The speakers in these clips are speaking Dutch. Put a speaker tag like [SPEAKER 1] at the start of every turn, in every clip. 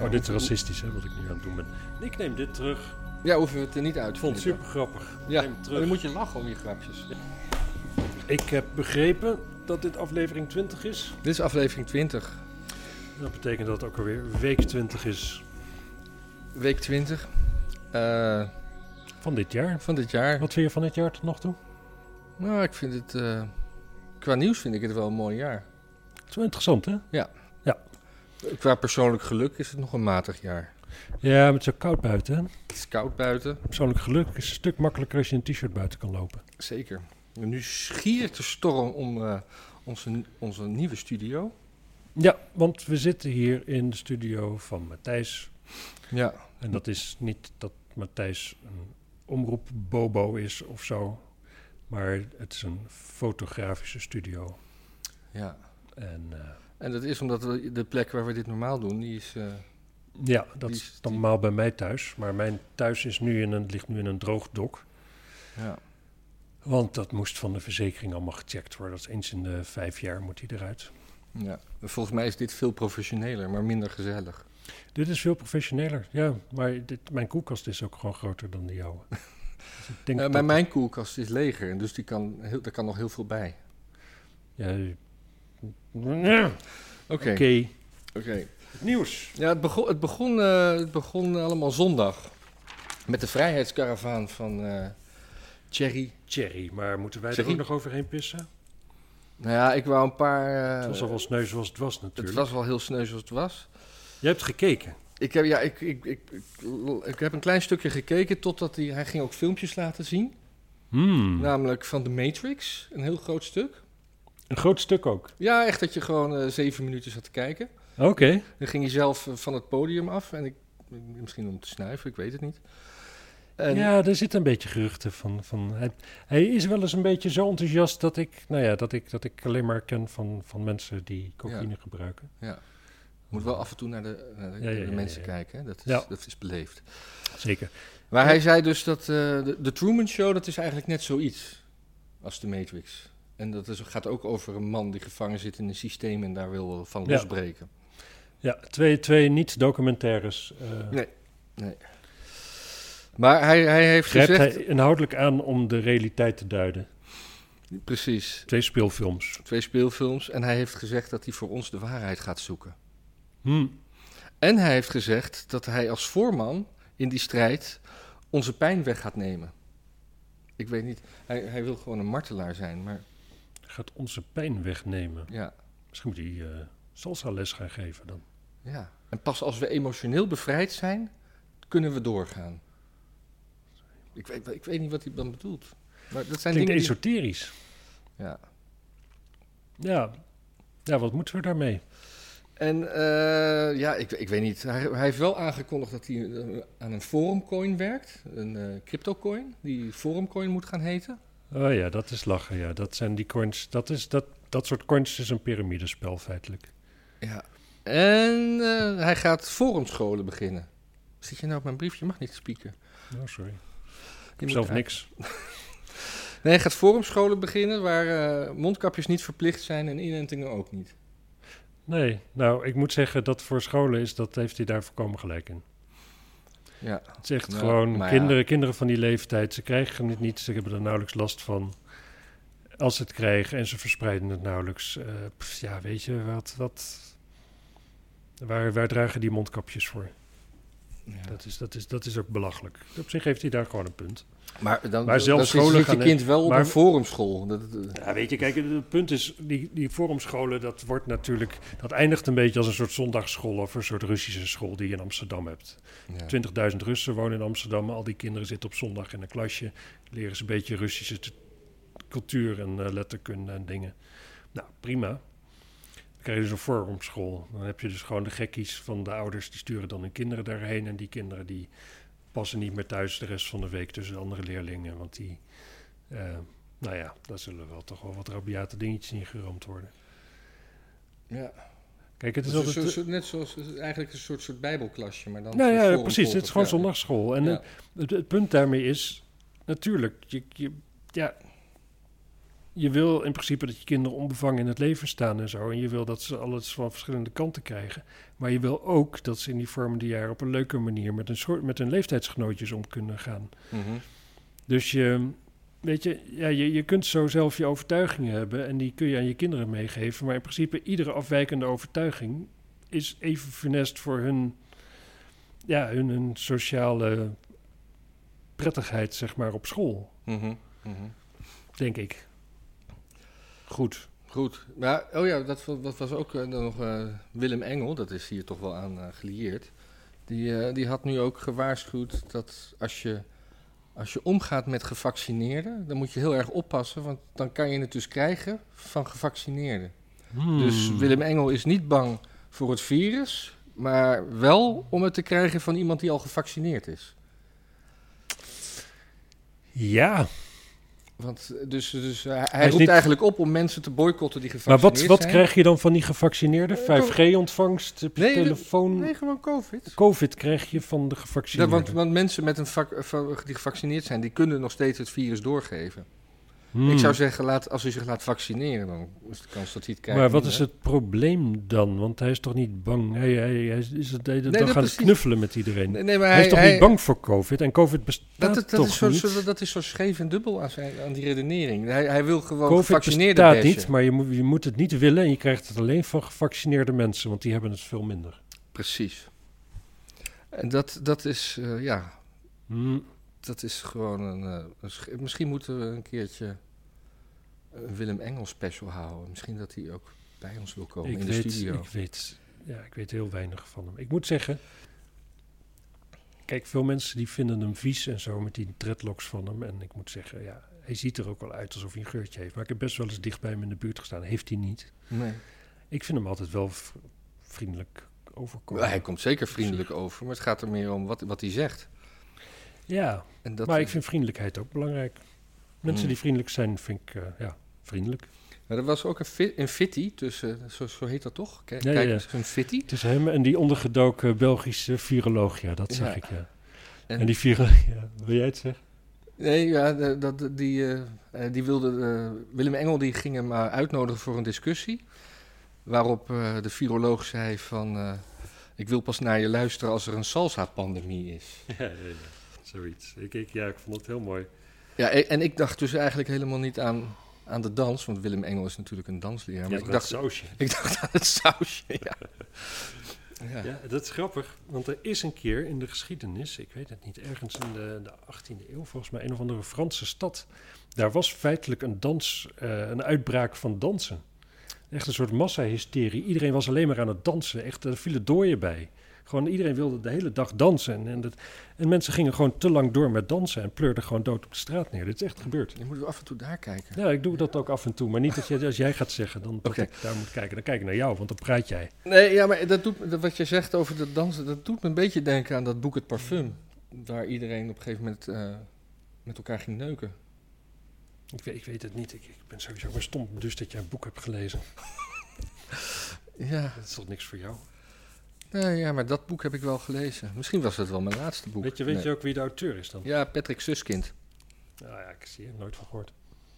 [SPEAKER 1] Oh, dit is racistisch, hè, wat ik nu aan het doen ben. Ik neem dit terug.
[SPEAKER 2] Ja, hoeven we het er niet uit
[SPEAKER 1] Ik
[SPEAKER 2] te
[SPEAKER 1] vond het
[SPEAKER 2] knippen.
[SPEAKER 1] super grappig.
[SPEAKER 2] Ja,
[SPEAKER 1] Neem het
[SPEAKER 2] maar dan
[SPEAKER 1] terug.
[SPEAKER 2] moet je lachen om je grapjes.
[SPEAKER 1] Ik heb begrepen dat dit aflevering 20 is.
[SPEAKER 2] Dit is aflevering 20,
[SPEAKER 1] Dat betekent dat het ook alweer week 20 is
[SPEAKER 2] week 20 eh,
[SPEAKER 1] van dit jaar.
[SPEAKER 2] van dit jaar.
[SPEAKER 1] Wat vind je van dit jaar tot nog toe?
[SPEAKER 2] Nou, ik vind het... eh, qua nieuws vind ik het wel een mooi jaar.
[SPEAKER 1] Het is wel interessant, hè?
[SPEAKER 2] Qua persoonlijk geluk is het nog een matig jaar.
[SPEAKER 1] Ja, maar het is ook koud buiten, hè?
[SPEAKER 2] Het is koud buiten,
[SPEAKER 1] Persoonlijk geluk is een stuk makkelijker als je in een t-shirt buiten kan lopen.
[SPEAKER 2] zeker. En nu schiert de storm om eh, onze, onze nieuwe studio.
[SPEAKER 1] Ja, want we zitten hier in de studio van Matthijs.
[SPEAKER 2] Ja,
[SPEAKER 1] En dat is niet dat Matthijs een omroep Bobo is of zo. Maar het is een fotografische studio.
[SPEAKER 2] ja.
[SPEAKER 1] En eh,
[SPEAKER 2] En dat is omdat we de plek waar we dit normaal doen, die is... eh,
[SPEAKER 1] ja, dat
[SPEAKER 2] Die-
[SPEAKER 1] is normaal bij mij thuis. Maar mijn thuis is nu in een, ligt nu in een droog dok.
[SPEAKER 2] ja.
[SPEAKER 1] Want dat moest van de verzekering allemaal gecheckt worden. Dat is eens in de vijf jaar moet hij eruit.
[SPEAKER 2] Ja, volgens mij is dit veel professioneler, maar minder gezellig.
[SPEAKER 1] Dit is veel professioneler, ja. Maar dit, mijn koelkast is ook gewoon groter dan die jouwe. Dus ik denk
[SPEAKER 2] Eh, maar
[SPEAKER 1] dat-
[SPEAKER 2] mijn koelkast is leger, dus die kan heel, daar kan nog heel veel bij.
[SPEAKER 1] Ja, ja.
[SPEAKER 2] Oké.
[SPEAKER 1] Oké,
[SPEAKER 2] oké.
[SPEAKER 1] het nieuws.
[SPEAKER 2] Ja, het begon, het, begon, eh, het begon allemaal zondag met de vrijheidskaravaan van eh Thierry.
[SPEAKER 1] Thierry, maar moeten wij
[SPEAKER 2] Thierry.
[SPEAKER 1] er ook nog overheen pissen?
[SPEAKER 2] Nou ja, ik wou een paar... eh,
[SPEAKER 1] Het was al wel sneu zoals het was natuurlijk.
[SPEAKER 2] het was wel heel sneu zoals het was.
[SPEAKER 1] Je hebt gekeken.
[SPEAKER 2] Ik heb, ja, ik, ik, ik, ik, ik heb een klein stukje gekeken totdat hij... Hij ging ook filmpjes laten zien,
[SPEAKER 1] Mm. Hmm.
[SPEAKER 2] namelijk van The Matrix, een heel groot stuk.
[SPEAKER 1] Een groot stuk ook.
[SPEAKER 2] Ja, echt dat je gewoon eh, zeven minuten zat te kijken.
[SPEAKER 1] Oké.
[SPEAKER 2] Dan ging hij zelf eh, van het podium af. En ik, misschien om te snuiven, ik weet het niet. En, ja.
[SPEAKER 1] Ja, er zitten een beetje geruchten van. van hij, hij is wel eens een beetje zo enthousiast dat ik, nou ja, dat ik, dat ik alleen maar ken van, van mensen die cocaïne gebruiken.
[SPEAKER 2] Moet wel af en toe naar de, naar de,
[SPEAKER 1] Ja, ja,
[SPEAKER 2] de
[SPEAKER 1] ja,
[SPEAKER 2] mensen
[SPEAKER 1] ja.
[SPEAKER 2] kijken. Hè? Dat, is,
[SPEAKER 1] Ja.
[SPEAKER 2] dat is beleefd.
[SPEAKER 1] Zeker.
[SPEAKER 2] Maar hij zei dus dat eh, de, de Truman Show, dat is eigenlijk net zoiets als de Matrix. En dat is, gaat ook over een man die gevangen zit in een systeem en daar wil eh, van
[SPEAKER 1] Ja.
[SPEAKER 2] losbreken.
[SPEAKER 1] Ja, twee, twee niet-documentaires. eh,
[SPEAKER 2] Nee. Maar hij, hij heeft
[SPEAKER 1] Grijpt
[SPEAKER 2] gezegd...
[SPEAKER 1] hij inhoudelijk aan om de realiteit te duiden.
[SPEAKER 2] Precies,
[SPEAKER 1] Twee speelfilms.
[SPEAKER 2] twee speelfilms. En hij heeft gezegd dat hij voor ons de waarheid gaat zoeken.
[SPEAKER 1] Hm.
[SPEAKER 2] En hij heeft gezegd dat hij als voorman in die strijd onze pijn weg gaat nemen. Ik weet niet, hij, hij wil gewoon een martelaar zijn, maar
[SPEAKER 1] Gaat onze pijn wegnemen.
[SPEAKER 2] ja,
[SPEAKER 1] Misschien moet hij eh salsa les gaan geven dan.
[SPEAKER 2] ja. En pas als we emotioneel bevrijd zijn, kunnen we doorgaan. Ik weet, ik weet niet wat hij dan bedoelt. Maar dat zijn
[SPEAKER 1] Klinkt
[SPEAKER 2] dingen die...
[SPEAKER 1] esoterisch.
[SPEAKER 2] Ja.
[SPEAKER 1] Ja. ja, wat moeten we daarmee?
[SPEAKER 2] En eh, ja, ik, ik weet niet. Hij, hij heeft wel aangekondigd dat hij eh, aan een forumcoin werkt. Een eh, cryptocoin, die forumcoin moet gaan heten.
[SPEAKER 1] Oh ja, dat is lachen. Ja, dat zijn die coins. Dat, is, dat, dat soort coins is een piramidespel feitelijk.
[SPEAKER 2] Ja. En eh, hij gaat forumscholen beginnen. Zit je nou op mijn briefje? Je mag niet spieken.
[SPEAKER 1] Oh, sorry. Ik
[SPEAKER 2] Je
[SPEAKER 1] heb
[SPEAKER 2] moet
[SPEAKER 1] zelf
[SPEAKER 2] uit-
[SPEAKER 1] niks.
[SPEAKER 2] Nee, hij gaat forumscholen beginnen waar eh, mondkapjes niet verplicht zijn en inentingen ook niet.
[SPEAKER 1] Nee, nou, ik moet zeggen dat voor scholen is, dat heeft hij daar voorkomen gelijk in.
[SPEAKER 2] Ja.
[SPEAKER 1] Het is echt
[SPEAKER 2] Nou,
[SPEAKER 1] gewoon
[SPEAKER 2] maar ja.
[SPEAKER 1] kinderen, kinderen van die leeftijd, ze krijgen het niet, ze hebben er nauwelijks last van. Als ze het krijgen en ze verspreiden het nauwelijks. Eh, pff, ja, weet je, wat, wat, waar, waar dragen die mondkapjes voor? Dat, is, dat, is, dat is ook belachelijk. Op zich heeft hij daar gewoon een punt.
[SPEAKER 2] Maar dan,
[SPEAKER 1] Maar
[SPEAKER 2] dan
[SPEAKER 1] zelfs
[SPEAKER 2] zit-
[SPEAKER 1] scholen
[SPEAKER 2] zit je
[SPEAKER 1] gaan-
[SPEAKER 2] kind wel op
[SPEAKER 1] maar-
[SPEAKER 2] een forumschool. Dat, dat-
[SPEAKER 1] Ja, weet je, kijk, het punt is, die, die forumscholen, dat wordt natuurlijk, dat eindigt een beetje als een soort zondagsschool of een soort Russische school die je in Amsterdam hebt.
[SPEAKER 2] ja.
[SPEAKER 1] 20.000 Russen wonen in Amsterdam, al die kinderen zitten op zondag in een klasje, leren ze een beetje Russische t- cultuur en eh, letterkunde en dingen. Nou, prima. Dan krijg je dus een forumschool. Dan heb je dus gewoon de gekkies van de ouders, die sturen dan hun kinderen daarheen en die kinderen die passen niet meer thuis de rest van de week tussen de andere leerlingen, want die... eh, nou ja, daar zullen wel toch wel wat rabiate dingetjes in geroomd worden.
[SPEAKER 2] Ja.
[SPEAKER 1] Kijk, het is
[SPEAKER 2] Dat is
[SPEAKER 1] altijd... eh,
[SPEAKER 2] zo- zo- net zoals het is eigenlijk een soort, soort bijbelklasje, maar dan...
[SPEAKER 1] nou ja,
[SPEAKER 2] voor forumschool
[SPEAKER 1] precies. Het is gewoon
[SPEAKER 2] toch, ja.
[SPEAKER 1] zondagschool. En
[SPEAKER 2] Ja.
[SPEAKER 1] eh, het, het punt daarmee is, natuurlijk, je, je, ja, je wil in principe dat je kinderen onbevangen in het leven staan en zo. En je wil dat ze alles van verschillende kanten krijgen. Maar je wil ook dat ze in die vormende jaren op een leuke manier met hun, soort, met hun leeftijdsgenootjes om kunnen gaan.
[SPEAKER 2] Mhm.
[SPEAKER 1] Dus je, weet je, ja, je, je kunt zo zelf je overtuigingen hebben en die kun je aan je kinderen meegeven. Maar in principe iedere afwijkende overtuiging is even funest voor hun, ja, hun, hun sociale prettigheid, zeg maar, op school,
[SPEAKER 2] Mhm. Mhm.
[SPEAKER 1] denk ik. Goed.
[SPEAKER 2] Goed. Maar, oh ja, dat, wa- dat was ook eh, dan nog eh, Willem Engel, dat is hier toch wel aan eh, gelieerd. Die, eh, die had nu ook gewaarschuwd dat als je, als je omgaat met gevaccineerden, dan moet je heel erg oppassen, want dan kan je het dus krijgen van gevaccineerden.
[SPEAKER 1] Hmm.
[SPEAKER 2] Dus Willem Engel is niet bang voor het virus, maar wel om het te krijgen van iemand die al gevaccineerd is.
[SPEAKER 1] Ja,
[SPEAKER 2] Want eh, dus, dus eh, hij,
[SPEAKER 1] is
[SPEAKER 2] roept
[SPEAKER 1] niet-
[SPEAKER 2] eigenlijk op om mensen te boycotten die
[SPEAKER 1] maar
[SPEAKER 2] gevaccineerd
[SPEAKER 1] wat, wat
[SPEAKER 2] zijn.
[SPEAKER 1] krijg je dan van die gevaccineerden?
[SPEAKER 2] Eh, toch-
[SPEAKER 1] 5G-ontvangst, heb je
[SPEAKER 2] Nee, dat-
[SPEAKER 1] telefoon...
[SPEAKER 2] Nee, gewoon COVID.
[SPEAKER 1] Covid krijg je van de
[SPEAKER 2] Ja,
[SPEAKER 1] gevaccineerden.
[SPEAKER 2] want, want mensen met een vac- eh, van- die gevaccineerd zijn, die kunnen nog steeds het virus doorgeven.
[SPEAKER 1] Hmm.
[SPEAKER 2] Ik zou zeggen, laat, als u zich laat vaccineren, dan is de kans dat hij het krijgt.
[SPEAKER 1] maar wat
[SPEAKER 2] minder.
[SPEAKER 1] is het probleem dan? Want hij is toch niet bang? Hij, hij, hij is, is het de hele
[SPEAKER 2] Nee,
[SPEAKER 1] dag
[SPEAKER 2] dat
[SPEAKER 1] aan het
[SPEAKER 2] precies.
[SPEAKER 1] knuffelen met iedereen.
[SPEAKER 2] Nee, nee, maar
[SPEAKER 1] hij,
[SPEAKER 2] hij
[SPEAKER 1] is toch niet bang voor COVID? En COVID
[SPEAKER 2] Dat,
[SPEAKER 1] bestaat
[SPEAKER 2] dat,
[SPEAKER 1] toch
[SPEAKER 2] is zo,
[SPEAKER 1] niet?
[SPEAKER 2] zo- dat is zo scheef en dubbel aan, zijn, aan die redenering. Hij, hij wil gewoon
[SPEAKER 1] COVID
[SPEAKER 2] gevaccineerden
[SPEAKER 1] bestaat
[SPEAKER 2] bashen.
[SPEAKER 1] niet, maar je moet, je moet het niet willen... en je krijgt het alleen van gevaccineerde mensen... want die hebben het veel minder.
[SPEAKER 2] Precies. En dat, dat is, eh, ja,
[SPEAKER 1] Hmm.
[SPEAKER 2] dat is gewoon een, eh, een sch- Misschien moeten we een keertje een Willem Engel special houden. Misschien dat hij ook bij ons wil komen
[SPEAKER 1] Ik,
[SPEAKER 2] in de
[SPEAKER 1] weet,
[SPEAKER 2] studio.
[SPEAKER 1] ik, weet, ja, ik weet heel weinig van hem. Ik moet zeggen... Kijk, veel mensen die vinden hem vies en zo... met die dreadlocks van hem. En ik moet zeggen, ja, hij ziet er ook wel uit alsof hij een geurtje heeft. Maar ik heb best wel eens dicht bij hem in de buurt gestaan. Heeft hij niet.
[SPEAKER 2] Nee.
[SPEAKER 1] Ik vind hem altijd wel v- vriendelijk overkomen.
[SPEAKER 2] Hij komt zeker vriendelijk over, maar het gaat er meer om wat, wat hij zegt.
[SPEAKER 1] Ja,
[SPEAKER 2] En dat,
[SPEAKER 1] maar ik vind vriendelijkheid ook belangrijk. Mensen
[SPEAKER 2] Hmm.
[SPEAKER 1] die vriendelijk zijn, vind ik eh, ja, vriendelijk.
[SPEAKER 2] Maar eh, er was ook een, fi een fitty tussen, zo, zo heet dat toch? Kijk,
[SPEAKER 1] Ja, ja,
[SPEAKER 2] kijk
[SPEAKER 1] ja.
[SPEAKER 2] eens, een fitty.
[SPEAKER 1] Het is hem en die ondergedoken Belgische viroloog, ja, dat zag
[SPEAKER 2] Ja.
[SPEAKER 1] ik, ja. En,
[SPEAKER 2] En-
[SPEAKER 1] die viroloog, ja, wil jij het zeggen?
[SPEAKER 2] Nee, ja, de- dat, die, eh, eh, die wilde, eh, Willem Engel die ging hem eh, uitnodigen voor een discussie. Waarop eh, de viroloog zei van, eh, ik wil pas naar je luisteren als er een salsa-pandemie is.
[SPEAKER 1] Ja, zoiets. Ik, ja, ik vond het heel mooi.
[SPEAKER 2] Ja, e- en ik dacht dus eigenlijk helemaal niet aan, aan de dans, want Willem Engel is natuurlijk een dansleraar. Maar ik, dacht,
[SPEAKER 1] sausje.
[SPEAKER 2] ik dacht aan het sausje, ja. Ja.
[SPEAKER 1] Ja, dat is grappig, want er is een keer in de geschiedenis, ik weet het niet, ergens in de, de 18e eeuw volgens mij, een of andere Franse stad. Daar was feitelijk een dans, eh, een uitbraak van dansen. Echt een soort massahysterie. Iedereen was alleen maar aan het dansen. Echt, er vielen dooien bij. Gewoon iedereen wilde de hele dag dansen. En, en, dat, en mensen gingen gewoon te lang door met dansen en pleurden gewoon dood op de straat neer. Dit is echt gebeurd.
[SPEAKER 2] Je moet af en toe daar kijken.
[SPEAKER 1] Ja, ik doe dat ook af en toe. Maar niet dat jij, als jij gaat zeggen dan dat
[SPEAKER 2] Oké.
[SPEAKER 1] ik daar moet kijken. Dan kijk ik naar jou, want dan praat jij.
[SPEAKER 2] Nee, ja, maar dat doet, me- dat wat je zegt over dat dansen, dat doet me een beetje denken aan dat boek Het Parfum. Waar iedereen op een gegeven moment eh, met elkaar ging neuken.
[SPEAKER 1] Ik weet, ik weet het niet. Ik, ik ben sowieso maar stom dus dat jij een boek hebt gelezen.
[SPEAKER 2] Ja,
[SPEAKER 1] Dat is toch niks voor jou?
[SPEAKER 2] nee, ja, maar dat boek heb ik wel gelezen. Misschien was dat wel mijn laatste boek.
[SPEAKER 1] Weet, je, weet
[SPEAKER 2] Nee.
[SPEAKER 1] je ook wie de auteur is dan? Ja. Nou
[SPEAKER 2] Ja, Patrick Suskind.
[SPEAKER 1] ja, ik zie er nooit van gehoord.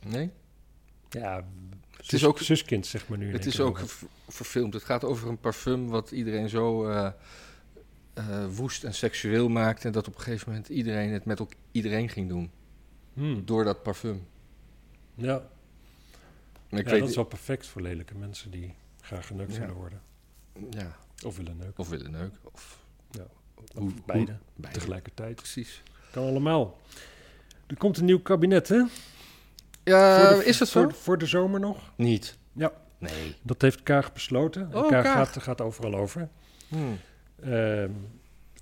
[SPEAKER 2] Nee?
[SPEAKER 1] Ja, het
[SPEAKER 2] is ook-
[SPEAKER 1] zuskind, zeg maar nu. in
[SPEAKER 2] het
[SPEAKER 1] één
[SPEAKER 2] is
[SPEAKER 1] keer.
[SPEAKER 2] ook ver- verfilmd. Het gaat over een parfum wat iedereen zo eh, eh, woest en seksueel maakt. En dat op een gegeven moment iedereen het met elk- iedereen ging doen.
[SPEAKER 1] Hmm,
[SPEAKER 2] Door dat parfum.
[SPEAKER 1] Ja,
[SPEAKER 2] Maar ik
[SPEAKER 1] ja
[SPEAKER 2] weet
[SPEAKER 1] dat is wel perfect voor lelijke mensen die graag geneukt
[SPEAKER 2] Ja.
[SPEAKER 1] willen worden.
[SPEAKER 2] ja,
[SPEAKER 1] Of willen neuken.
[SPEAKER 2] of willen neuken. Of
[SPEAKER 1] Of beide,
[SPEAKER 2] beide.
[SPEAKER 1] tegelijkertijd.
[SPEAKER 2] Precies.
[SPEAKER 1] Kan allemaal. Er komt een nieuw kabinet, hè?
[SPEAKER 2] Ja,
[SPEAKER 1] Voor de-
[SPEAKER 2] Eh, is dat zo?
[SPEAKER 1] Voor, voor de zomer nog.
[SPEAKER 2] Niet.
[SPEAKER 1] Ja.
[SPEAKER 2] Nee.
[SPEAKER 1] Dat heeft Kaag besloten. En
[SPEAKER 2] Oh,
[SPEAKER 1] Kaag,
[SPEAKER 2] Kaag.
[SPEAKER 1] Gaat, gaat overal over. Ehm,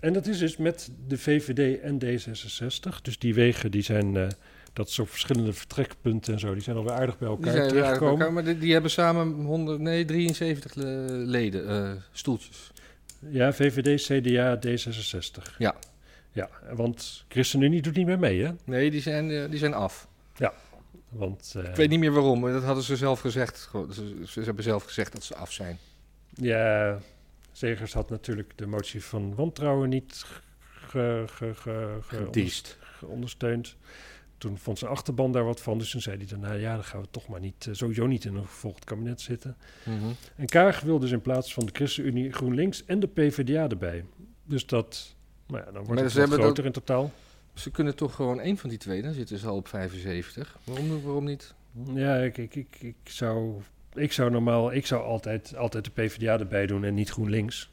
[SPEAKER 1] en dat is dus met de VVD en D66. Dus die wegen die zijn, eh, dat is op verschillende vertrekpunten en zo, die zijn alweer aardig bij
[SPEAKER 2] Die
[SPEAKER 1] elkaar
[SPEAKER 2] zijn weer uit
[SPEAKER 1] terechtgekomen.
[SPEAKER 2] elkaar, maar die, die hebben samen 100, nee, 73 le- leden, eh, stoeltjes.
[SPEAKER 1] Ja, VVD, CDA, D66.
[SPEAKER 2] Ja.
[SPEAKER 1] Ja, want ChristenUnie doet niet meer mee, hè?
[SPEAKER 2] Nee, die zijn, eh, die zijn af.
[SPEAKER 1] Want, eh,
[SPEAKER 2] Ik weet niet meer waarom, maar dat hadden ze zelf gezegd. Gewoon, Ze, ze hebben zelf gezegd dat ze af zijn.
[SPEAKER 1] Ja, Zegers had natuurlijk de motie van wantrouwen niet ge- ge- ge- ge-
[SPEAKER 2] Gediest.
[SPEAKER 1] ondersteund. toen vond zijn achterban daar wat van. Dus toen zei hij daarna, ja, dan gaan we toch maar niet, eh, sowieso niet in een gevolgd kabinet zitten.
[SPEAKER 2] Mhm.
[SPEAKER 1] En Kaag wil dus in plaats van de ChristenUnie GroenLinks en de PvdA erbij. Dus dat, nou ja, dan wordt
[SPEAKER 2] Maar
[SPEAKER 1] het
[SPEAKER 2] ze
[SPEAKER 1] wat
[SPEAKER 2] hebben dat-
[SPEAKER 1] groter in totaal.
[SPEAKER 2] Ze kunnen toch gewoon één van die twee, dan zitten ze al op 75. Waarom, waarom niet?
[SPEAKER 1] Ja, ik, ik, ik, ik zou... Ik zou normaal, ik zou altijd, altijd de PvdA erbij doen en niet GroenLinks.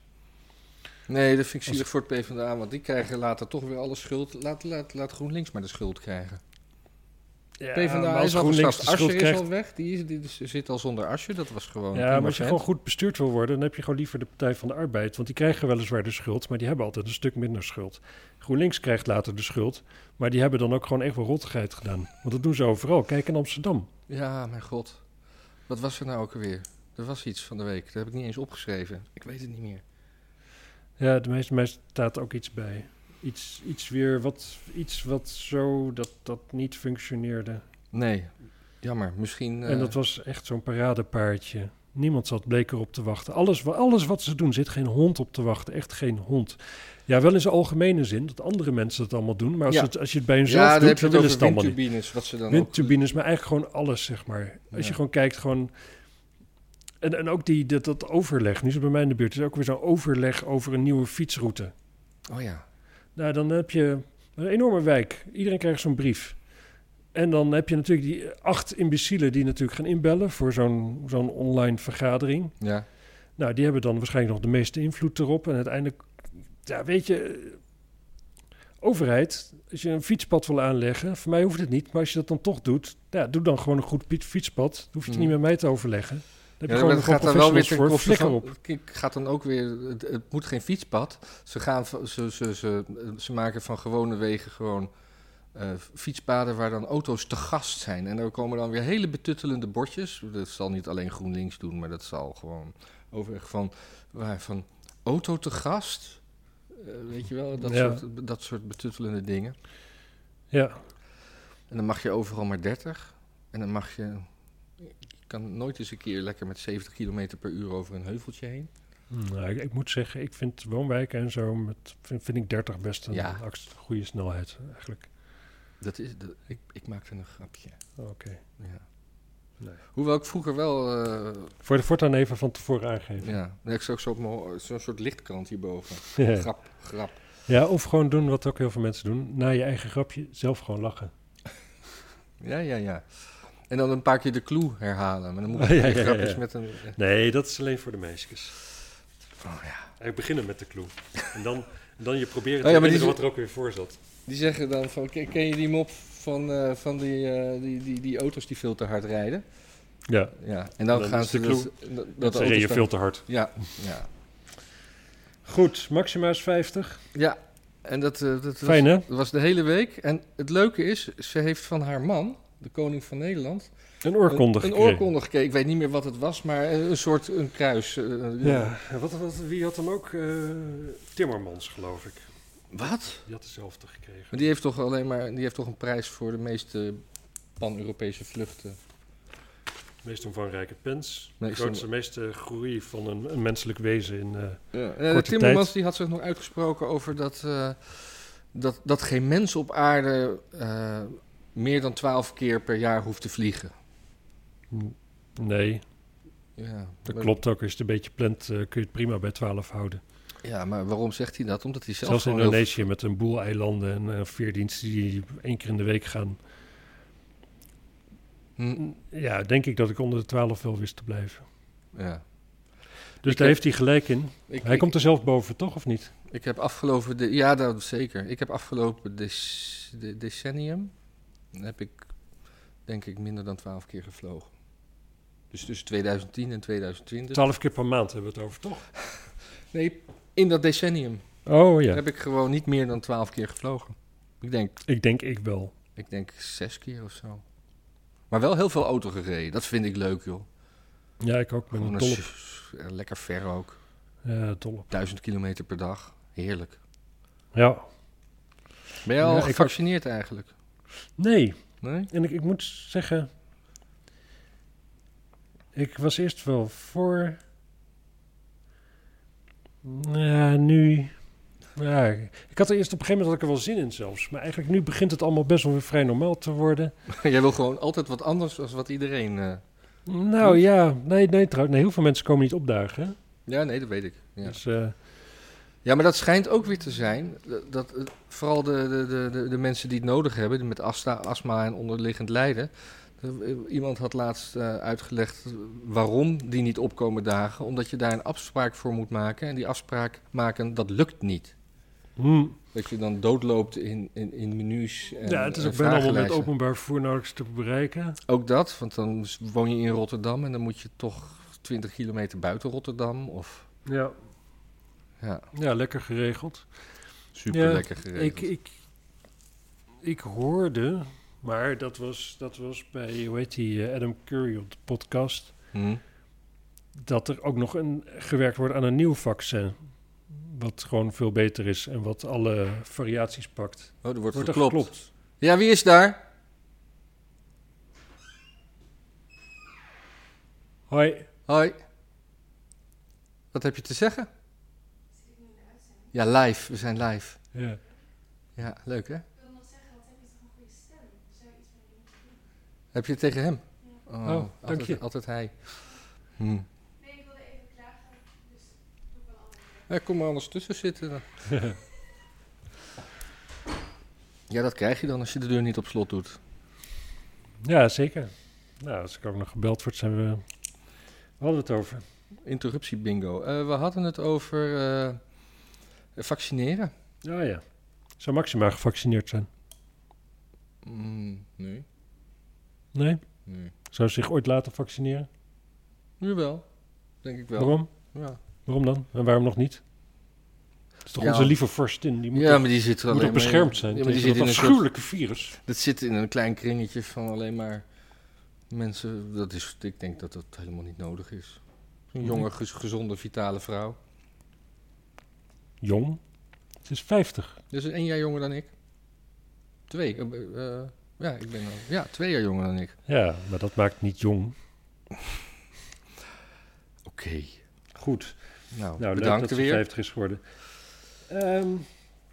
[SPEAKER 2] Nee, dat vind ik
[SPEAKER 1] Als-
[SPEAKER 2] zielig voor het PvdA, want die krijgen later toch weer alle schuld. Laat, laat, laat GroenLinks maar de schuld krijgen.
[SPEAKER 1] Ja, maar
[SPEAKER 2] PvdA
[SPEAKER 1] als
[SPEAKER 2] is al
[SPEAKER 1] GroenLinks
[SPEAKER 2] geschrapt.
[SPEAKER 1] de schuld
[SPEAKER 2] Asje is
[SPEAKER 1] krijgt,
[SPEAKER 2] al weg. Die, is, die is- zit al zonder Asje. Dat was gewoon
[SPEAKER 1] Ja,
[SPEAKER 2] prima
[SPEAKER 1] maar als je
[SPEAKER 2] vent.
[SPEAKER 1] gewoon goed bestuurd wil worden, dan heb je gewoon liever de Partij van de Arbeid. Want die krijgen weliswaar de schuld, maar die hebben altijd een stuk minder schuld. GroenLinks krijgt later de schuld, maar die hebben dan ook gewoon echt wel rottigheid gedaan. Want dat doen ze overal. Kijk in Amsterdam.
[SPEAKER 2] Ja, mijn god. Wat was er nou ook alweer? Er was iets van de week. Dat heb ik niet eens opgeschreven. Ik weet het niet meer.
[SPEAKER 1] Ja, de meeste mensen staat ook iets bij. Iets, iets weer wat, iets wat zo dat dat niet functioneerde.
[SPEAKER 2] Nee, jammer. Misschien... eh,
[SPEAKER 1] En dat was echt zo'n paradepaardje. Niemand zat bleek erop te wachten. Alles, wa- alles wat ze doen, zit geen hond op te wachten. Echt geen hond. Ja, wel in zijn algemene zin, dat andere mensen het allemaal doen. Maar als,
[SPEAKER 2] Ja.
[SPEAKER 1] het, als je het bij
[SPEAKER 2] ja,
[SPEAKER 1] hunzelf
[SPEAKER 2] dan heb
[SPEAKER 1] doet,
[SPEAKER 2] je
[SPEAKER 1] dan
[SPEAKER 2] het
[SPEAKER 1] willen ze
[SPEAKER 2] over
[SPEAKER 1] het allemaal niet.
[SPEAKER 2] windturbines. Wat ze dan ook...
[SPEAKER 1] Windturbines, maar eigenlijk gewoon alles, zeg maar. Als
[SPEAKER 2] Ja.
[SPEAKER 1] je gewoon kijkt, gewoon... En, en ook die, dat, dat overleg. Nu is het bij mij in de buurt. Er is ook weer zo'n overleg over een nieuwe fietsroute.
[SPEAKER 2] Oh ja.
[SPEAKER 1] Nou, dan heb je een enorme wijk. Iedereen krijgt zo'n brief. En dan heb je natuurlijk die acht imbecielen die natuurlijk gaan inbellen voor zo'n zo'n online vergadering.
[SPEAKER 2] Ja.
[SPEAKER 1] Nou, die hebben dan waarschijnlijk nog de meeste invloed erop. En uiteindelijk, ja, weet je, eh, overheid, als je een fietspad wil aanleggen, voor mij hoeft het niet. Maar als je dat dan toch doet, ja, doe dan gewoon een goed piet- fietspad. Dan hoef je het
[SPEAKER 2] Hmm.
[SPEAKER 1] niet met mij te overleggen. Dan heb je
[SPEAKER 2] Ja, maar
[SPEAKER 1] gewoon,
[SPEAKER 2] het
[SPEAKER 1] gewoon
[SPEAKER 2] gaat dan wel weer
[SPEAKER 1] professionals
[SPEAKER 2] ten
[SPEAKER 1] voor. Flikker
[SPEAKER 2] koste van...
[SPEAKER 1] op.
[SPEAKER 2] Het gaat dan ook weer... Het, het moet geen fietspad. Ze, gaan, van- ze, ze, ze, ze maken van gewone wegen gewoon eh, fietspaden waar dan auto's te gast zijn. En er komen dan weer hele betuttelende bordjes. Dat zal niet alleen GroenLinks doen, maar dat zal gewoon overweg van... Waar, van auto te gast... Eh, weet je wel, dat,
[SPEAKER 1] Ja.
[SPEAKER 2] soort, dat soort betuttelende dingen.
[SPEAKER 1] Ja,
[SPEAKER 2] En dan mag je overal maar 30. En dan mag je... Je kan nooit eens een keer lekker met 70 km per uur over een heuveltje heen.
[SPEAKER 1] Nou, ik, ik moet zeggen, ik vind woonwijken en zo, met, vind, vind ik 30 best een
[SPEAKER 2] Ja.
[SPEAKER 1] acc- goede snelheid eigenlijk.
[SPEAKER 2] Dat is, dat- ik, ik maakte een grapje.
[SPEAKER 1] Oh, Oké.
[SPEAKER 2] Ja.
[SPEAKER 1] Nee.
[SPEAKER 2] Hoewel ik vroeger wel. eh,
[SPEAKER 1] Voor de voortaan even van tevoren aangeven.
[SPEAKER 2] ja, nee, ik zag zo op mijn- zo'n soort lichtkrant hierboven.
[SPEAKER 1] Ja.
[SPEAKER 2] Grap, grap.
[SPEAKER 1] of gewoon doen wat ook heel veel mensen doen. Na je eigen grapje, zelf gewoon lachen.
[SPEAKER 2] Ja, ja, ja. En dan een paar keer de clue herhalen. Maar dan moet ik
[SPEAKER 1] Oh, Ja, ja,
[SPEAKER 2] weer
[SPEAKER 1] ja,
[SPEAKER 2] grapjes
[SPEAKER 1] ja.
[SPEAKER 2] met een. eh.
[SPEAKER 1] Nee, dat is alleen voor de meisjes.
[SPEAKER 2] Oh, ja.
[SPEAKER 1] Eigenlijk beginnen met de clue. En dan, en dan je proberen te
[SPEAKER 2] Oh ja, maar die-
[SPEAKER 1] herinneren wat er ook weer voor zat.
[SPEAKER 2] Die zeggen dan van: "Ken- ken je die mop van, eh, van die, eh, die, die, die auto's die veel te hard rijden?
[SPEAKER 1] Ja,
[SPEAKER 2] Ja. En dan,
[SPEAKER 1] Dan
[SPEAKER 2] gaan
[SPEAKER 1] is
[SPEAKER 2] ze
[SPEAKER 1] de
[SPEAKER 2] dus- dat,
[SPEAKER 1] dat
[SPEAKER 2] dat de
[SPEAKER 1] reed
[SPEAKER 2] auto's
[SPEAKER 1] je
[SPEAKER 2] dan-
[SPEAKER 1] veel te hard.
[SPEAKER 2] Ja, ja.
[SPEAKER 1] Goed, maxima is 50.
[SPEAKER 2] Ja, en dat, eh, dat was,
[SPEAKER 1] Fijn, hè?
[SPEAKER 2] dat was de hele week. En het leuke is, ze heeft van haar man, de koning van Nederland,
[SPEAKER 1] Een oorkonde
[SPEAKER 2] een, een
[SPEAKER 1] gekregen.
[SPEAKER 2] oorkonde gekregen. Ik weet niet meer wat het was, maar eh, een soort een kruis. eh,
[SPEAKER 1] Ja, wat, wat, wie had hem ook? Eh, Timmermans, geloof ik.
[SPEAKER 2] Wat?
[SPEAKER 1] Die had dezelfde gekregen.
[SPEAKER 2] Maar die heeft toch alleen maar, die heeft toch een prijs voor de meeste pan-Europese vluchten.
[SPEAKER 1] meest omvangrijke pens.
[SPEAKER 2] Nee,
[SPEAKER 1] de
[SPEAKER 2] ik
[SPEAKER 1] grootste, meeste groei van een, een menselijk wezen in... eh,
[SPEAKER 2] Ja.
[SPEAKER 1] Korte
[SPEAKER 2] Timmermans
[SPEAKER 1] tijd.
[SPEAKER 2] die had zich nog uitgesproken over dat, eh, dat, dat geen mens op aarde eh, meer dan twaalf keer per jaar hoeft te vliegen.
[SPEAKER 1] Nee,
[SPEAKER 2] Ja,
[SPEAKER 1] dat
[SPEAKER 2] maar-
[SPEAKER 1] klopt ook. Als je het een beetje plant, eh, kun je het prima bij 12 houden.
[SPEAKER 2] Ja, maar waarom zegt hij dat? Omdat hij zelf
[SPEAKER 1] Zelfs in
[SPEAKER 2] gewoon heel
[SPEAKER 1] Indonesië met een boel eilanden en eh, veerdiensten die één keer in de week gaan.
[SPEAKER 2] Hm,
[SPEAKER 1] Ja, denk ik dat ik onder de 12 wel wist te blijven.
[SPEAKER 2] Hm, ja.
[SPEAKER 1] Dus daar
[SPEAKER 2] Ik heb-
[SPEAKER 1] heeft hij gelijk in.
[SPEAKER 2] Ik,
[SPEAKER 1] Hij
[SPEAKER 2] ik-
[SPEAKER 1] komt er zelf boven, toch? Of niet?
[SPEAKER 2] ik heb afgelopen... De, ja, dat zeker. Ik heb afgelopen dec- de- decennium... heb ik, denk ik, minder dan twaalf keer gevlogen. Dus tussen 2010 en 2020.
[SPEAKER 1] 12 keer per maand hebben we het over, toch?
[SPEAKER 2] Nee, in dat decennium
[SPEAKER 1] Oh ja,
[SPEAKER 2] heb ik gewoon niet meer dan twaalf keer gevlogen. Ik denk,
[SPEAKER 1] ik denk ik wel.
[SPEAKER 2] ik denk zes keer of zo. Maar wel heel veel auto gereden. Dat vind ik leuk, joh.
[SPEAKER 1] Ja, ik ook. Ik ben
[SPEAKER 2] Gewoon
[SPEAKER 1] een
[SPEAKER 2] een
[SPEAKER 1] dol op.
[SPEAKER 2] s- eh, lekker ver ook.
[SPEAKER 1] Ja, dol op.
[SPEAKER 2] Duizend kilometer per dag. Heerlijk.
[SPEAKER 1] Ja.
[SPEAKER 2] Ben jij al
[SPEAKER 1] Ja, ik ook.
[SPEAKER 2] gevaccineerd eigenlijk?
[SPEAKER 1] Nee,
[SPEAKER 2] Nee?
[SPEAKER 1] En ik, ik moet zeggen, ik was eerst wel voor. Ja, nu. Ja, ik had er eerst op een gegeven moment had ik er wel zin in zelfs. Maar eigenlijk nu begint het allemaal best wel weer vrij normaal te worden.
[SPEAKER 2] Jij wil gewoon altijd wat anders dan wat iedereen... eh,
[SPEAKER 1] Nou ja, nee, nee, trouw, nee heel veel mensen komen niet opdagen. hè.
[SPEAKER 2] Ja, nee, dat weet ik. Ja.
[SPEAKER 1] Dus, eh,
[SPEAKER 2] Ja, maar dat schijnt ook weer te zijn. Dat, dat, eh, vooral de, de, de, de, de mensen die het nodig hebben, die met asta, astma en onderliggend lijden. Eh, Iemand had laatst eh, uitgelegd waarom die niet opkomen dagen. Omdat je daar een afspraak voor moet maken. En die afspraak maken, dat lukt niet.
[SPEAKER 1] hmm.
[SPEAKER 2] Dat je dan doodloopt in, in, in menus. En,
[SPEAKER 1] ja, het is
[SPEAKER 2] en
[SPEAKER 1] ook bijna allemaal met
[SPEAKER 2] vragenlijsten.
[SPEAKER 1] openbaar vervoer nauwelijks te bereiken.
[SPEAKER 2] Ook dat, want dan woon je in Rotterdam en dan moet je toch 20 kilometer buiten Rotterdam. Of
[SPEAKER 1] Ja,
[SPEAKER 2] ja,
[SPEAKER 1] ja lekker geregeld.
[SPEAKER 2] super lekker geregeld.
[SPEAKER 1] Ik, ik, ik hoorde, maar dat was, dat was bij, hoe heet die, eh, Adam Curry op de podcast,
[SPEAKER 2] Hm?
[SPEAKER 1] dat er ook nog een, gewerkt wordt aan een nieuw vaccin. Wat gewoon veel beter is en wat alle variaties pakt.
[SPEAKER 2] Oh, er wordt,
[SPEAKER 1] Wordt er
[SPEAKER 2] geklopt.
[SPEAKER 1] geklopt?
[SPEAKER 2] Ja, wie is daar?
[SPEAKER 1] Hoi.
[SPEAKER 2] Hoi. Wat heb je te zeggen? Ja, live. We zijn live.
[SPEAKER 1] Ja.
[SPEAKER 2] Ja, leuk hè? Heb je het tegen hem? Oh,
[SPEAKER 1] dank
[SPEAKER 2] altijd,
[SPEAKER 1] je.
[SPEAKER 2] Altijd hij. Hm. Ja, kom maar anders tussen zitten dan. ja, dat krijg je dan als je de deur niet op slot doet.
[SPEAKER 1] ja, zeker. Nou, als ik ook nog gebeld word, zijn we... We hadden het over.
[SPEAKER 2] Interruptie bingo. Eh, we hadden het over eh, vaccineren.
[SPEAKER 1] Ja, Ah, ja. Zou Maxima gevaccineerd zijn?
[SPEAKER 2] Mm, nee,
[SPEAKER 1] Nee?
[SPEAKER 2] nee.
[SPEAKER 1] Zou ze zich ooit laten vaccineren?
[SPEAKER 2] Nu wel. Denk ik wel.
[SPEAKER 1] Waarom?
[SPEAKER 2] Ja.
[SPEAKER 1] Waarom dan? En waarom nog niet? Het is toch
[SPEAKER 2] Ja.
[SPEAKER 1] onze lieve vorstin, die moet,
[SPEAKER 2] ja,
[SPEAKER 1] toch-
[SPEAKER 2] maar die zit
[SPEAKER 1] moet
[SPEAKER 2] alleen
[SPEAKER 1] toch
[SPEAKER 2] maar in-
[SPEAKER 1] beschermd zijn
[SPEAKER 2] Ja, maar
[SPEAKER 1] tegen
[SPEAKER 2] die zit in
[SPEAKER 1] dat
[SPEAKER 2] een soort,
[SPEAKER 1] afschuwelijke virus.
[SPEAKER 2] dat zit in een klein kringetje van alleen maar mensen. Dat is, ik denk dat dat helemaal niet nodig is. Een jonge, gez- gezonde, vitale vrouw.
[SPEAKER 1] Jong. Ze is 50.
[SPEAKER 2] Dus één jaar jonger dan ik. Twee. eh, eh, ja, ik ben al, ja, twee jaar jonger dan ik.
[SPEAKER 1] Ja, maar dat maakt niet jong.
[SPEAKER 2] Oké.
[SPEAKER 1] Goed.
[SPEAKER 2] Nou,
[SPEAKER 1] Nou, leuk
[SPEAKER 2] bedankt
[SPEAKER 1] dat ze
[SPEAKER 2] weer.
[SPEAKER 1] 50 is geworden. Ehm,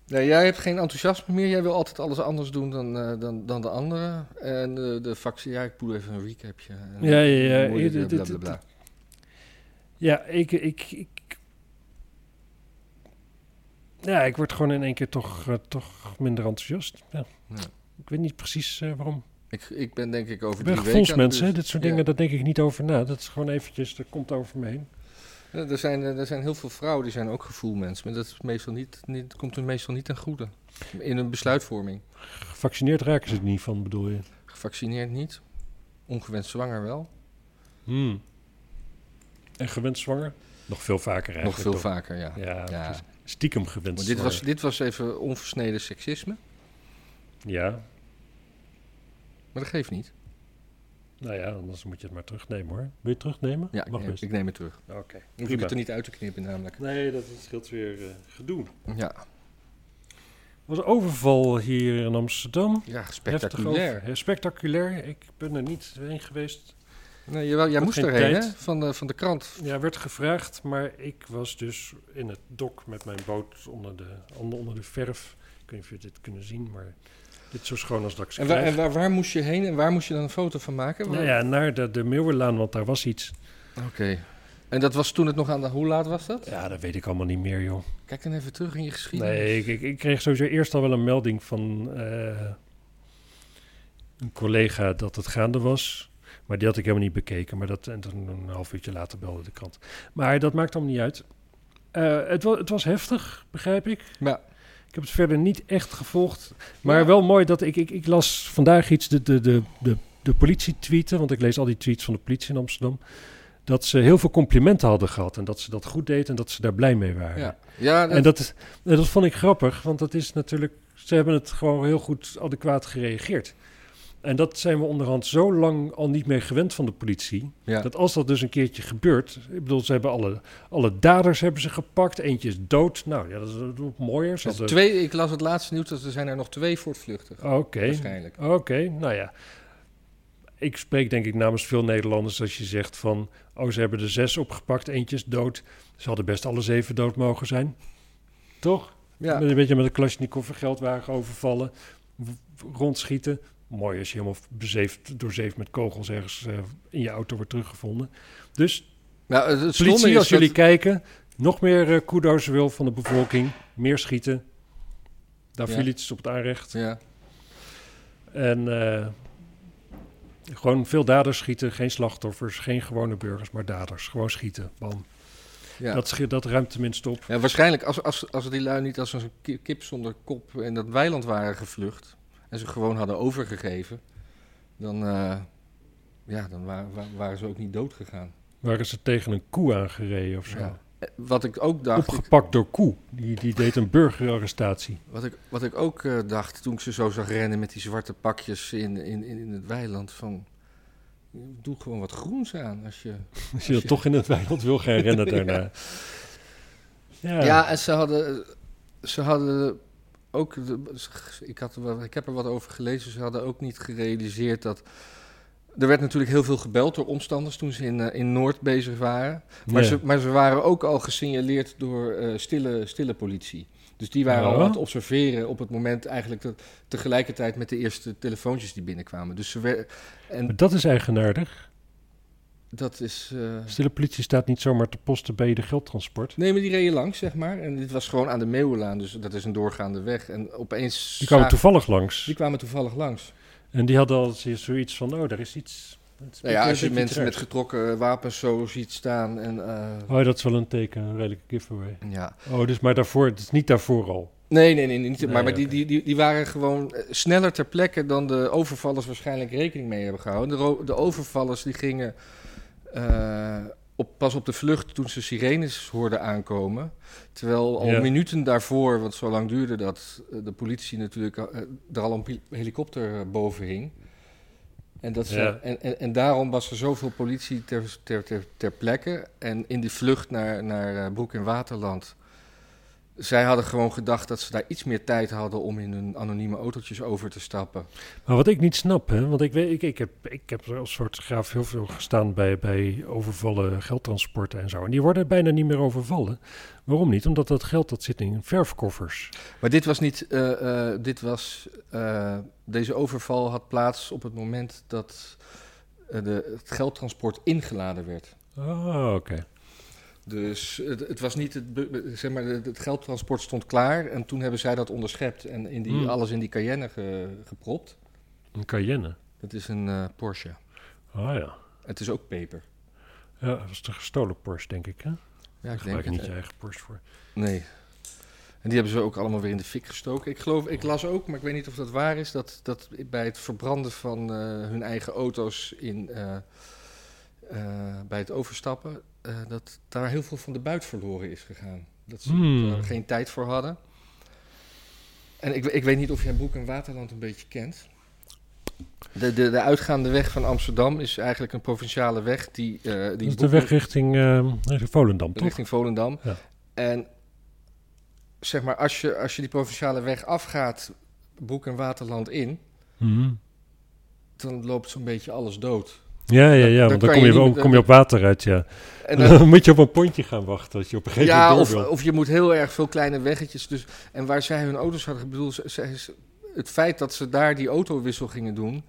[SPEAKER 2] Nee, jij hebt geen enthousiasme meer. Jij wil altijd alles anders doen dan, eh, dan, dan de anderen. En eh, de vaccin... Ja, ik doe even een recapje. En
[SPEAKER 1] Ja, ja, ja.
[SPEAKER 2] dan moet je
[SPEAKER 1] Dit-
[SPEAKER 2] weer
[SPEAKER 1] dit-
[SPEAKER 2] blablabla.
[SPEAKER 1] ja, ik, ik, ik... Ja, ik word gewoon in één keer toch, eh, toch minder enthousiast. Ja.
[SPEAKER 2] Ja.
[SPEAKER 1] Ik weet niet precies eh, waarom.
[SPEAKER 2] Ik, ik ben denk ik over
[SPEAKER 1] Ik
[SPEAKER 2] drie
[SPEAKER 1] ben
[SPEAKER 2] weken... aan dus- de
[SPEAKER 1] gevoelsmens, hè.
[SPEAKER 2] beurt.
[SPEAKER 1] Dit soort
[SPEAKER 2] Ja.
[SPEAKER 1] dingen, daar denk ik niet over na. Dat is gewoon eventjes, dat komt over me heen.
[SPEAKER 2] Ja, er, zijn, eh, er zijn heel veel vrouwen die zijn ook gevoelmens, maar dat is meestal niet, niet, komt hun meestal niet ten goede. In hun besluitvorming.
[SPEAKER 1] Gevaccineerd raken ze er niet van, bedoel je?
[SPEAKER 2] Gevaccineerd niet, ongewenst zwanger wel.
[SPEAKER 1] Hmm. En gewend zwanger? Nog veel vaker eigenlijk.
[SPEAKER 2] Nog veel
[SPEAKER 1] toch?
[SPEAKER 2] vaker, ja.
[SPEAKER 1] Ja,
[SPEAKER 2] Ja.
[SPEAKER 1] precies. stiekem gewend
[SPEAKER 2] Maar dit, was,
[SPEAKER 1] zwanger.
[SPEAKER 2] dit was even onversneden seksisme,
[SPEAKER 1] Ja,
[SPEAKER 2] maar dat geeft niet.
[SPEAKER 1] nou ja, anders moet je het maar terugnemen hoor. Wil je het terugnemen?
[SPEAKER 2] Ja, ik,
[SPEAKER 1] Mag
[SPEAKER 2] neem,
[SPEAKER 1] best.
[SPEAKER 2] ik neem het terug. Dan
[SPEAKER 1] Oké,
[SPEAKER 2] hoef ik
[SPEAKER 1] prima.
[SPEAKER 2] het er niet uit te knippen namelijk.
[SPEAKER 1] Nee, dat scheelt weer eh, gedoe.
[SPEAKER 2] Ja,
[SPEAKER 1] Er was een overval hier in Amsterdam.
[SPEAKER 2] ja
[SPEAKER 1] Heftig over-
[SPEAKER 2] spectaculair.
[SPEAKER 1] ja, spectaculair. Ik ben er niet heen geweest.
[SPEAKER 2] Nee, jawel, jij
[SPEAKER 1] Had
[SPEAKER 2] moest
[SPEAKER 1] geen
[SPEAKER 2] erheen,
[SPEAKER 1] tijd.
[SPEAKER 2] hè? Van de, van de krant.
[SPEAKER 1] Ja, werd gevraagd, maar ik was dus in het dok met mijn boot onder de, onder onder de verf. Ik weet niet of je dit kunnen zien, maar dit is zo schoon als dat ik ze
[SPEAKER 2] En, waar,
[SPEAKER 1] krijg.
[SPEAKER 2] en waar, waar moest je heen en waar moest je dan een foto van maken?
[SPEAKER 1] Nou ja, naar de, de Meeuwenlaan, want daar was iets.
[SPEAKER 2] Oké. En dat was toen het nog aan de... Hoe laat was dat?
[SPEAKER 1] Ja, dat weet ik allemaal niet meer, joh.
[SPEAKER 2] Kijk dan even terug in je geschiedenis.
[SPEAKER 1] Nee, ik, ik, ik kreeg sowieso eerst al wel een melding van eh, een collega dat het gaande was. Maar die had ik helemaal niet bekeken. Maar dat, en toen een half uurtje later belde de krant. Maar dat maakt allemaal niet uit. Eh, het, was, het was heftig, begrijp ik.
[SPEAKER 2] Ja.
[SPEAKER 1] Ik heb het verder niet echt gevolgd. Maar
[SPEAKER 2] Ja.
[SPEAKER 1] wel mooi dat ik, ik... Ik las vandaag iets, de, de, de, de, de politie tweeten... want ik lees al die tweets van de politie in Amsterdam... dat ze heel veel complimenten hadden gehad... en dat ze dat goed deed en dat ze daar blij mee waren.
[SPEAKER 2] Ja, ja dat-
[SPEAKER 1] En dat, is, en dat vond ik grappig, want dat is natuurlijk... Ze hebben het gewoon heel goed adequaat gereageerd. En dat zijn we onderhand zo lang al niet meer gewend van de politie...
[SPEAKER 2] ja.
[SPEAKER 1] Dat als dat dus een keertje gebeurt, ik bedoel, ze hebben alle, alle daders hebben ze gepakt, eentje is dood. Nou ja, dat is dat is ook mooier. Ze
[SPEAKER 2] Dus
[SPEAKER 1] hadden-
[SPEAKER 2] twee, ik las het laatste nieuws dat er zijn er nog twee voortvluchtig.
[SPEAKER 1] Oké,
[SPEAKER 2] Waarschijnlijk.
[SPEAKER 1] oké, nou ja. Ik spreek denk ik namens veel Nederlanders als je zegt van, oh ze hebben er zes opgepakt, eentje is dood. Ze hadden best alle zeven dood mogen zijn, toch?
[SPEAKER 2] Ja.
[SPEAKER 1] Met een beetje met een Kalashnikov een geldwagen overvallen, w- rondschieten. Mooi als je helemaal bezeefd, doorzeefd met kogels ergens eh, in je auto wordt teruggevonden. Dus
[SPEAKER 2] Nou, het, het stomme
[SPEAKER 1] politie,
[SPEAKER 2] is
[SPEAKER 1] als jullie
[SPEAKER 2] dat-
[SPEAKER 1] kijken, nog meer eh kudo's wil van de bevolking. Meer schieten. Daar
[SPEAKER 2] Ja.
[SPEAKER 1] viel iets op het aanrecht.
[SPEAKER 2] Ja,
[SPEAKER 1] En eh, gewoon veel daders schieten, geen slachtoffers, geen gewone burgers, maar daders. Gewoon schieten, bam.
[SPEAKER 2] ja.
[SPEAKER 1] Dat, schi- dat ruimt tenminste op.
[SPEAKER 2] Ja, waarschijnlijk als, als, als die lui niet als een ki- kip zonder kop in dat weiland waren gevlucht en ze gewoon hadden overgegeven, dan, eh, ja, dan wa- wa- waren ze ook niet dood gegaan.
[SPEAKER 1] Waar is ze tegen een koe aangereden of zo?
[SPEAKER 2] Ja. Eh, Wat ik ook dacht, ik-
[SPEAKER 1] Opgepakt door koe. Die, die deed een burgerarrestatie.
[SPEAKER 2] wat ik, wat ik ook eh, dacht toen ik ze zo zag rennen met die zwarte pakjes in, in, in, in het weiland, van doe gewoon wat groens aan. Als je...
[SPEAKER 1] Als je dat toch in het weiland wil gaan rennen daarna. Ja.
[SPEAKER 2] ja. en ze hadden, ze hadden ook, de- ze- ik, had er wel, ik heb er wat over gelezen, ze hadden ook niet gerealiseerd dat... Er werd natuurlijk heel veel gebeld door omstanders toen ze in, eh, in Noord bezig waren. Maar,
[SPEAKER 1] Ja.
[SPEAKER 2] ze, maar ze waren ook al gesignaleerd door eh, stille, stille politie. Dus die waren al
[SPEAKER 1] Oh.
[SPEAKER 2] aan het observeren op het moment eigenlijk dat, tegelijkertijd met de eerste telefoontjes die binnenkwamen. Dus ze wer- en
[SPEAKER 1] Maar dat is eigenaardig.
[SPEAKER 2] dat is. eh,
[SPEAKER 1] Stille politie staat niet zomaar te posten bij de geldtransport.
[SPEAKER 2] Nee, maar die reden langs, zeg maar. En dit was gewoon aan de Meeuwenlaan, dus dat is een doorgaande weg. En opeens.
[SPEAKER 1] Die kwamen
[SPEAKER 2] zagen-
[SPEAKER 1] toevallig langs.
[SPEAKER 2] die kwamen toevallig langs.
[SPEAKER 1] En die hadden al z- zoiets van, oh, daar is iets. Het is
[SPEAKER 2] Nou ja,
[SPEAKER 1] iets
[SPEAKER 2] als je
[SPEAKER 1] raars.
[SPEAKER 2] mensen met getrokken wapens zo ziet staan. En, eh,
[SPEAKER 1] Oh, dat is wel een teken, een redelijke giveaway.
[SPEAKER 2] ja.
[SPEAKER 1] Oh, dus maar daarvoor, het is niet daarvoor al.
[SPEAKER 2] Nee, nee, nee, niet,
[SPEAKER 1] Nee,
[SPEAKER 2] maar, maar die,
[SPEAKER 1] oké.
[SPEAKER 2] die, die, die waren gewoon eh, sneller ter plekke dan de overvallers waarschijnlijk rekening mee hebben gehouden. De, ro- de overvallers die gingen eh, op, pas op de vlucht toen ze sirenes hoorden aankomen. Terwijl al
[SPEAKER 1] Ja.
[SPEAKER 2] minuten daarvoor, want zo lang duurde dat, eh, de politie natuurlijk eh, er al een pil- helikopter eh, boven hing. En, dat ze,
[SPEAKER 1] Ja.
[SPEAKER 2] en, en, en daarom was er zoveel politie ter, ter, ter, ter plekke. En in die vlucht naar, naar eh, Broek in Waterland. Zij hadden gewoon gedacht dat ze daar iets meer tijd hadden om in hun anonieme autootjes over te stappen.
[SPEAKER 1] Maar wat ik niet snap, hè, want ik, weet, ik, ik, heb, ik heb als soort graaf heel veel gestaan bij, bij overvallen geldtransporten en zo. En die worden bijna niet meer overvallen. Waarom niet? Omdat dat geld dat zit in verfkoffers.
[SPEAKER 2] Maar dit was niet. eh, eh, dit was, eh, deze overval had plaats op het moment dat eh, de, het geldtransport ingeladen werd.
[SPEAKER 1] Oh,
[SPEAKER 2] Ah,
[SPEAKER 1] oké.
[SPEAKER 2] Dus het, het was niet het, be- be- zeg maar, het het geldtransport stond klaar en toen hebben zij dat onderschept en in die,
[SPEAKER 1] Hmm.
[SPEAKER 2] alles in die Cayenne ge- gepropt.
[SPEAKER 1] Een Cayenne.
[SPEAKER 2] Dat is een eh, Porsche.
[SPEAKER 1] Ah ja.
[SPEAKER 2] Het is ook peper.
[SPEAKER 1] Ja, dat is de gestolen Porsche, denk ik. Hè?
[SPEAKER 2] Ja,
[SPEAKER 1] Daar
[SPEAKER 2] ik denk
[SPEAKER 1] gebruik je niet
[SPEAKER 2] het. eh,
[SPEAKER 1] je eigen Porsche voor.
[SPEAKER 2] Nee. En die hebben ze ook allemaal weer in de fik gestoken. Ik geloof, ik las ook, maar ik weet niet of dat waar is, dat, dat bij het verbranden van eh, hun eigen auto's in, eh, eh, bij het overstappen, eh, dat daar heel veel van de buit verloren is gegaan. Dat ze
[SPEAKER 1] Hmm.
[SPEAKER 2] er geen tijd voor hadden. En ik, ik weet niet of jij Broek en Waterland een beetje kent. De, de, de uitgaande weg van Amsterdam is eigenlijk een provinciale weg die... eh, die
[SPEAKER 1] Dat is de
[SPEAKER 2] Broek-
[SPEAKER 1] weg richting eh, Volendam, toch?
[SPEAKER 2] richting Volendam.
[SPEAKER 1] Ja.
[SPEAKER 2] En zeg maar, als je, als je die provinciale weg afgaat, Broek en Waterland in,
[SPEAKER 1] Mhm.
[SPEAKER 2] dan loopt zo'n beetje alles dood.
[SPEAKER 1] Ja, ja, ja, want
[SPEAKER 2] Dan- dan
[SPEAKER 1] dan
[SPEAKER 2] kan
[SPEAKER 1] kom
[SPEAKER 2] je
[SPEAKER 1] je, wel-
[SPEAKER 2] niet met-
[SPEAKER 1] kom je op water uit, ja.
[SPEAKER 2] En
[SPEAKER 1] dan,
[SPEAKER 2] dan-
[SPEAKER 1] moet je op een pontje gaan wachten als je op een gegeven
[SPEAKER 2] ja,
[SPEAKER 1] moment
[SPEAKER 2] of,
[SPEAKER 1] door wil.
[SPEAKER 2] of je moet heel erg veel kleine weggetjes. Dus, en waar zij hun auto's hadden, ik bedoel, ze- ze- het feit dat ze daar die autowissel gingen doen.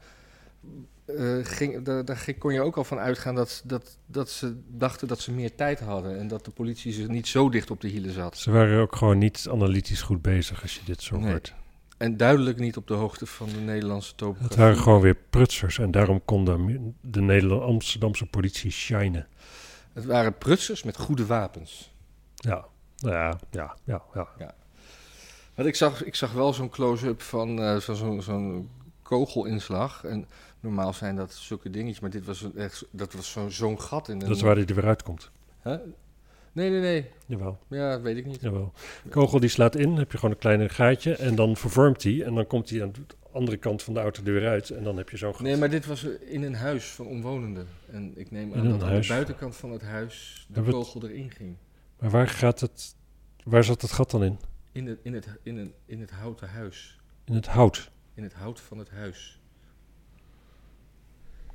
[SPEAKER 2] eh, ging, daar, daar ging- kon je ook al van uitgaan dat, dat, dat ze dachten dat ze meer tijd hadden. En dat de politie ze niet zo dicht op de hielen zat.
[SPEAKER 1] Ze waren ook gewoon niet analytisch goed bezig als je dit zo
[SPEAKER 2] Nee.
[SPEAKER 1] hoort.
[SPEAKER 2] En duidelijk niet op de hoogte van de Nederlandse
[SPEAKER 1] Het
[SPEAKER 2] topografie.
[SPEAKER 1] waren gewoon weer prutsers en daarom kon de, de Nederland Amsterdamse politie shinen.
[SPEAKER 2] Het waren prutsers met goede wapens.
[SPEAKER 1] Ja, nou ja, ja, ja. ja.
[SPEAKER 2] Want ik zag, ik zag wel zo'n close-up van eh, van zo'n zo'n kogelinslag. En normaal zijn dat zulke dingetjes, maar dit was een echt, dat was zo'n zo'n gat in een...
[SPEAKER 1] Dat is waar hij er weer uitkomt.
[SPEAKER 2] Hè? Nee, nee, nee.
[SPEAKER 1] Jawel,
[SPEAKER 2] Ja, dat weet ik niet.
[SPEAKER 1] jawel. Kogel die slaat in, heb je gewoon een klein gaatje en dan vervormt hij en dan komt hij aan de andere kant van de auto er weer uit en dan heb je zo'n gat.
[SPEAKER 2] Nee, maar dit was in een huis van omwonenden. En ik neem
[SPEAKER 1] In
[SPEAKER 2] aan
[SPEAKER 1] een
[SPEAKER 2] dat aan de
[SPEAKER 1] huis.
[SPEAKER 2] buitenkant van het huis de
[SPEAKER 1] Hebben we
[SPEAKER 2] kogel erin ging.
[SPEAKER 1] Maar waar gaat het, waar zat het gat dan in?
[SPEAKER 2] In het, in, het, in, een, in het houten huis.
[SPEAKER 1] In het hout.
[SPEAKER 2] In het hout van het huis.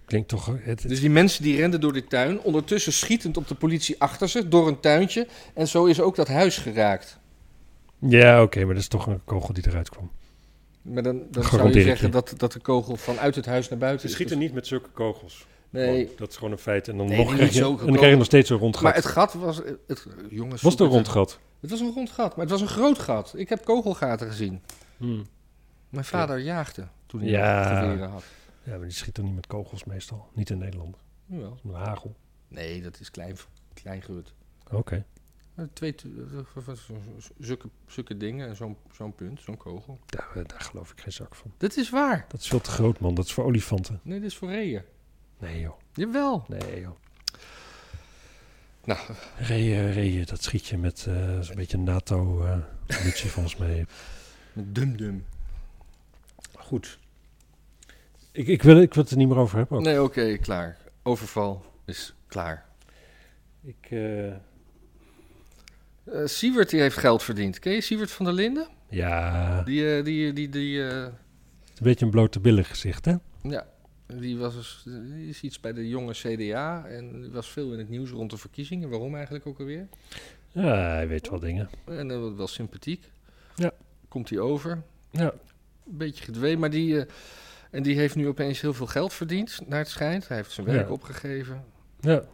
[SPEAKER 1] Klinkt toch, het, het-
[SPEAKER 2] Dus die mensen die renden door de tuin, ondertussen schietend op de politie achter ze, door een tuintje. En zo is ook dat huis geraakt.
[SPEAKER 1] Ja, oké, maar dat is toch een kogel die eruit kwam.
[SPEAKER 2] Maar dan, dan zou
[SPEAKER 1] Garandeer
[SPEAKER 2] je
[SPEAKER 1] ik
[SPEAKER 2] zeggen
[SPEAKER 1] je.
[SPEAKER 2] dat, dat de kogel vanuit het huis naar
[SPEAKER 1] Ze
[SPEAKER 2] buiten is. Dus-
[SPEAKER 1] schieten niet met zulke kogels.
[SPEAKER 2] Nee,
[SPEAKER 1] Gewoon, dat is gewoon een feit. En dan,
[SPEAKER 2] Nee,
[SPEAKER 1] nog
[SPEAKER 2] niet
[SPEAKER 1] krijg, je,
[SPEAKER 2] zulke
[SPEAKER 1] en dan krijg je
[SPEAKER 2] kogels.
[SPEAKER 1] nog steeds een rond
[SPEAKER 2] maar
[SPEAKER 1] gat.
[SPEAKER 2] het gat was... Het, jongens,
[SPEAKER 1] Was het een
[SPEAKER 2] zoek
[SPEAKER 1] rond
[SPEAKER 2] het-
[SPEAKER 1] gat?
[SPEAKER 2] Het was een rond gat, maar het was een groot gat. Ik heb kogelgaten gezien.
[SPEAKER 1] Hmm.
[SPEAKER 2] Mijn vader jaagde toen hij
[SPEAKER 1] Ja.
[SPEAKER 2] geweren had.
[SPEAKER 1] Ja, maar die schieten niet met kogels meestal. Niet in Nederland.
[SPEAKER 2] Jawel.
[SPEAKER 1] Met hagel.
[SPEAKER 2] Nee, dat is klein, klein gebeurd.
[SPEAKER 1] Oké.
[SPEAKER 2] Eh, Twee t- eh, z- z- zulke, zulke dingen en zo'n zo'n punt, zo'n kogel.
[SPEAKER 1] Daar, eh, daar geloof ik geen zak van.
[SPEAKER 2] Dat is waar.
[SPEAKER 1] Dat is veel te groot, man. Dat is voor olifanten.
[SPEAKER 2] Nee, dit is voor reeën.
[SPEAKER 1] Nee, joh.
[SPEAKER 2] Jawel.
[SPEAKER 1] Nee, joh.
[SPEAKER 2] Nou,
[SPEAKER 1] Reeën, reeën, dat schiet eh, je met eh, zo'n beetje NATO-munitie volgens mij.
[SPEAKER 2] met dum-dum.
[SPEAKER 1] Goed. Ik, ik, wil, ik wil het er niet meer over hebben. ook.
[SPEAKER 2] Nee, oké, klaar. Overval is klaar.
[SPEAKER 1] Ik, eh,
[SPEAKER 2] Eh Siewert die heeft geld verdiend. Ken je Siewert van der Linden?
[SPEAKER 1] ja, het
[SPEAKER 2] Die, eh, die, die, die, eh,
[SPEAKER 1] is een beetje een blote billen gezicht, hè?
[SPEAKER 2] ja, die was dus, die is iets bij de jonge CDA en die was veel in het nieuws rond de verkiezingen. Waarom eigenlijk ook alweer?
[SPEAKER 1] Ja, hij weet wel dingen.
[SPEAKER 2] En dat was wel sympathiek.
[SPEAKER 1] Ja.
[SPEAKER 2] Komt hij over.
[SPEAKER 1] Ja.
[SPEAKER 2] Een beetje gedwee, maar die... eh, en die heeft nu opeens heel veel geld verdiend, naar het schijnt. Hij heeft zijn werk
[SPEAKER 1] Ja.
[SPEAKER 2] opgegeven.
[SPEAKER 1] Ja,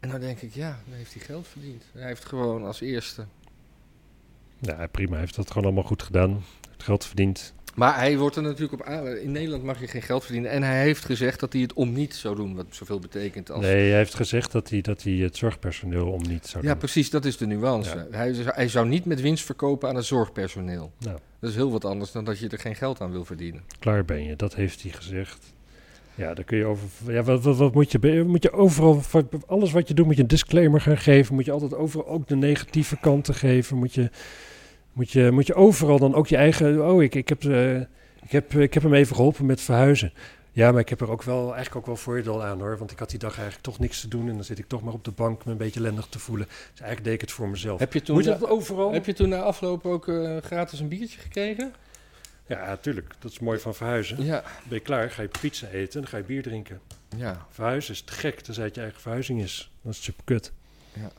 [SPEAKER 2] En dan denk ik, ja, dan heeft hij geld verdiend. Hij heeft gewoon als eerste.
[SPEAKER 1] ja prima. Hij heeft dat gewoon allemaal goed gedaan. Hij heeft geld verdiend.
[SPEAKER 2] Maar hij wordt er natuurlijk op aan. In Nederland mag je geen geld verdienen. En hij heeft gezegd dat hij het om niet zou doen. Wat zoveel betekent als.
[SPEAKER 1] Nee, hij heeft gezegd dat hij, dat hij het zorgpersoneel om niet zou
[SPEAKER 2] Ja,
[SPEAKER 1] doen.
[SPEAKER 2] precies, dat is de nuance. Hij, zou- hij zou niet met winst verkopen aan het zorgpersoneel.
[SPEAKER 1] Nou.
[SPEAKER 2] Dat is heel wat anders dan dat je er geen geld aan wil verdienen.
[SPEAKER 1] Klaar ben je, dat heeft hij gezegd. Ja, daar kun je over. Ja, wat, wat, wat moet je. be- Moet je overal. voor- Alles wat je doet, moet je een disclaimer gaan geven. Moet je altijd overal ook de negatieve kanten geven. Moet je. Moet je, moet je overal dan ook je eigen. Oh, ik, ik, heb, eh, ik, heb, ik heb hem even geholpen met verhuizen. Ja, maar ik heb er ook wel, eigenlijk ook wel voordeel aan hoor. Want ik had die dag eigenlijk toch niks te doen. En dan zit ik toch maar op de bank me een beetje lendig te voelen. Dus eigenlijk deed ik het voor mezelf.
[SPEAKER 2] Heb je toen, eh,
[SPEAKER 1] moet je dat overal?
[SPEAKER 2] heb je toen na afloop ook eh, gratis een biertje gekregen?
[SPEAKER 1] Ja, tuurlijk. Dat is mooi van verhuizen.
[SPEAKER 2] Ja.
[SPEAKER 1] Ben je klaar, ga je pizza eten en dan ga je bier drinken.
[SPEAKER 2] ja.
[SPEAKER 1] Verhuizen is te gek, tenzij het je eigen verhuizing is. Dat is super kut.
[SPEAKER 2] Ja.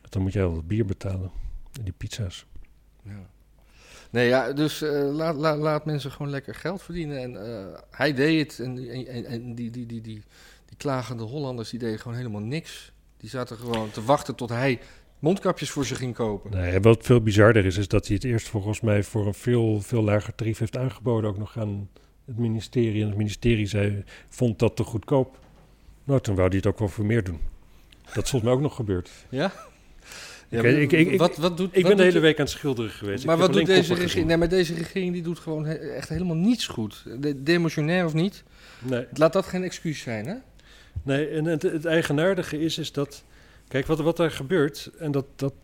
[SPEAKER 1] Want Dan moet jij wel dat bier betalen. En die pizza's.
[SPEAKER 2] Ja. Nee, ja, dus eh, laat, laat, laat mensen gewoon lekker geld verdienen. En eh, hij deed het. En, en, en- en die, die, die, die, die klagende Hollanders, die deden gewoon helemaal niks. Die zaten gewoon te wachten tot hij mondkapjes voor ze ging kopen.
[SPEAKER 1] Nee, wat veel bizarder is, is dat hij het eerst volgens mij voor een veel, veel lager tarief heeft aangeboden. Ook nog aan het ministerie. En het ministerie zei, vond dat te goedkoop. Nou, toen wou hij het ook wel voor meer doen. Dat is volgens mij ook nog gebeurd.
[SPEAKER 2] Ja?
[SPEAKER 1] Ik weet- ik- ik- ik-
[SPEAKER 2] wat, wat doet,
[SPEAKER 1] Ik
[SPEAKER 2] wat
[SPEAKER 1] ben de
[SPEAKER 2] doet-
[SPEAKER 1] hele week aan het schilderen geweest.
[SPEAKER 2] Maar
[SPEAKER 1] Ik heb
[SPEAKER 2] wat doet
[SPEAKER 1] alleen
[SPEAKER 2] deze
[SPEAKER 1] koppen
[SPEAKER 2] regering? Nee, maar deze regering die doet gewoon he- echt helemaal niets goed. De, demissionair of niet,
[SPEAKER 1] gezien. Nee.
[SPEAKER 2] laat dat geen excuus zijn, hè?
[SPEAKER 1] Nee, en het, het eigenaardige is, is dat. Kijk, wat, wat er gebeurt. En dat, dat.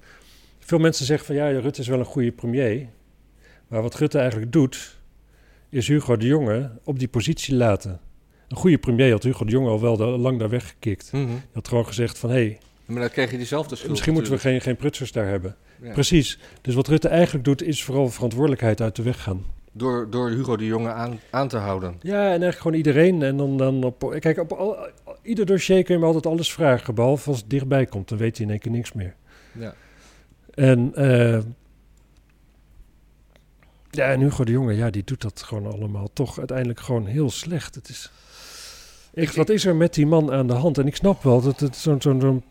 [SPEAKER 1] Veel mensen zeggen van ja, Rutte is wel een goede premier. Maar wat Rutte eigenlijk doet. Is Hugo de Jonge op die positie laten. Een goede premier had Hugo de Jonge al wel da- lang daar weggekikt. Hij had gewoon gezegd van hé, hey,
[SPEAKER 2] Maar dan krijg je diezelfde schuld.
[SPEAKER 1] Mhm. misschien moeten we geen, geen prutsers daar hebben.
[SPEAKER 2] we...
[SPEAKER 1] Precies. Dus wat Rutte eigenlijk doet, is vooral verantwoordelijkheid uit de weg gaan.
[SPEAKER 2] door, door Hugo de Jonge aan, aan te houden.
[SPEAKER 1] Ja, en eigenlijk gewoon iedereen. En dan, dan op, kijk, op al, ieder dossier kun je me altijd alles vragen. Behalve als het dichtbij komt, dan weet hij in één keer niks meer.
[SPEAKER 2] Ja.
[SPEAKER 1] En, eh, ja, en Hugo de Jonge, ja, die doet dat gewoon allemaal toch uiteindelijk gewoon heel slecht. Het is, echt, wat is er met die man aan de hand? En ik snap wel dat het zo'n... zo'n zo'n-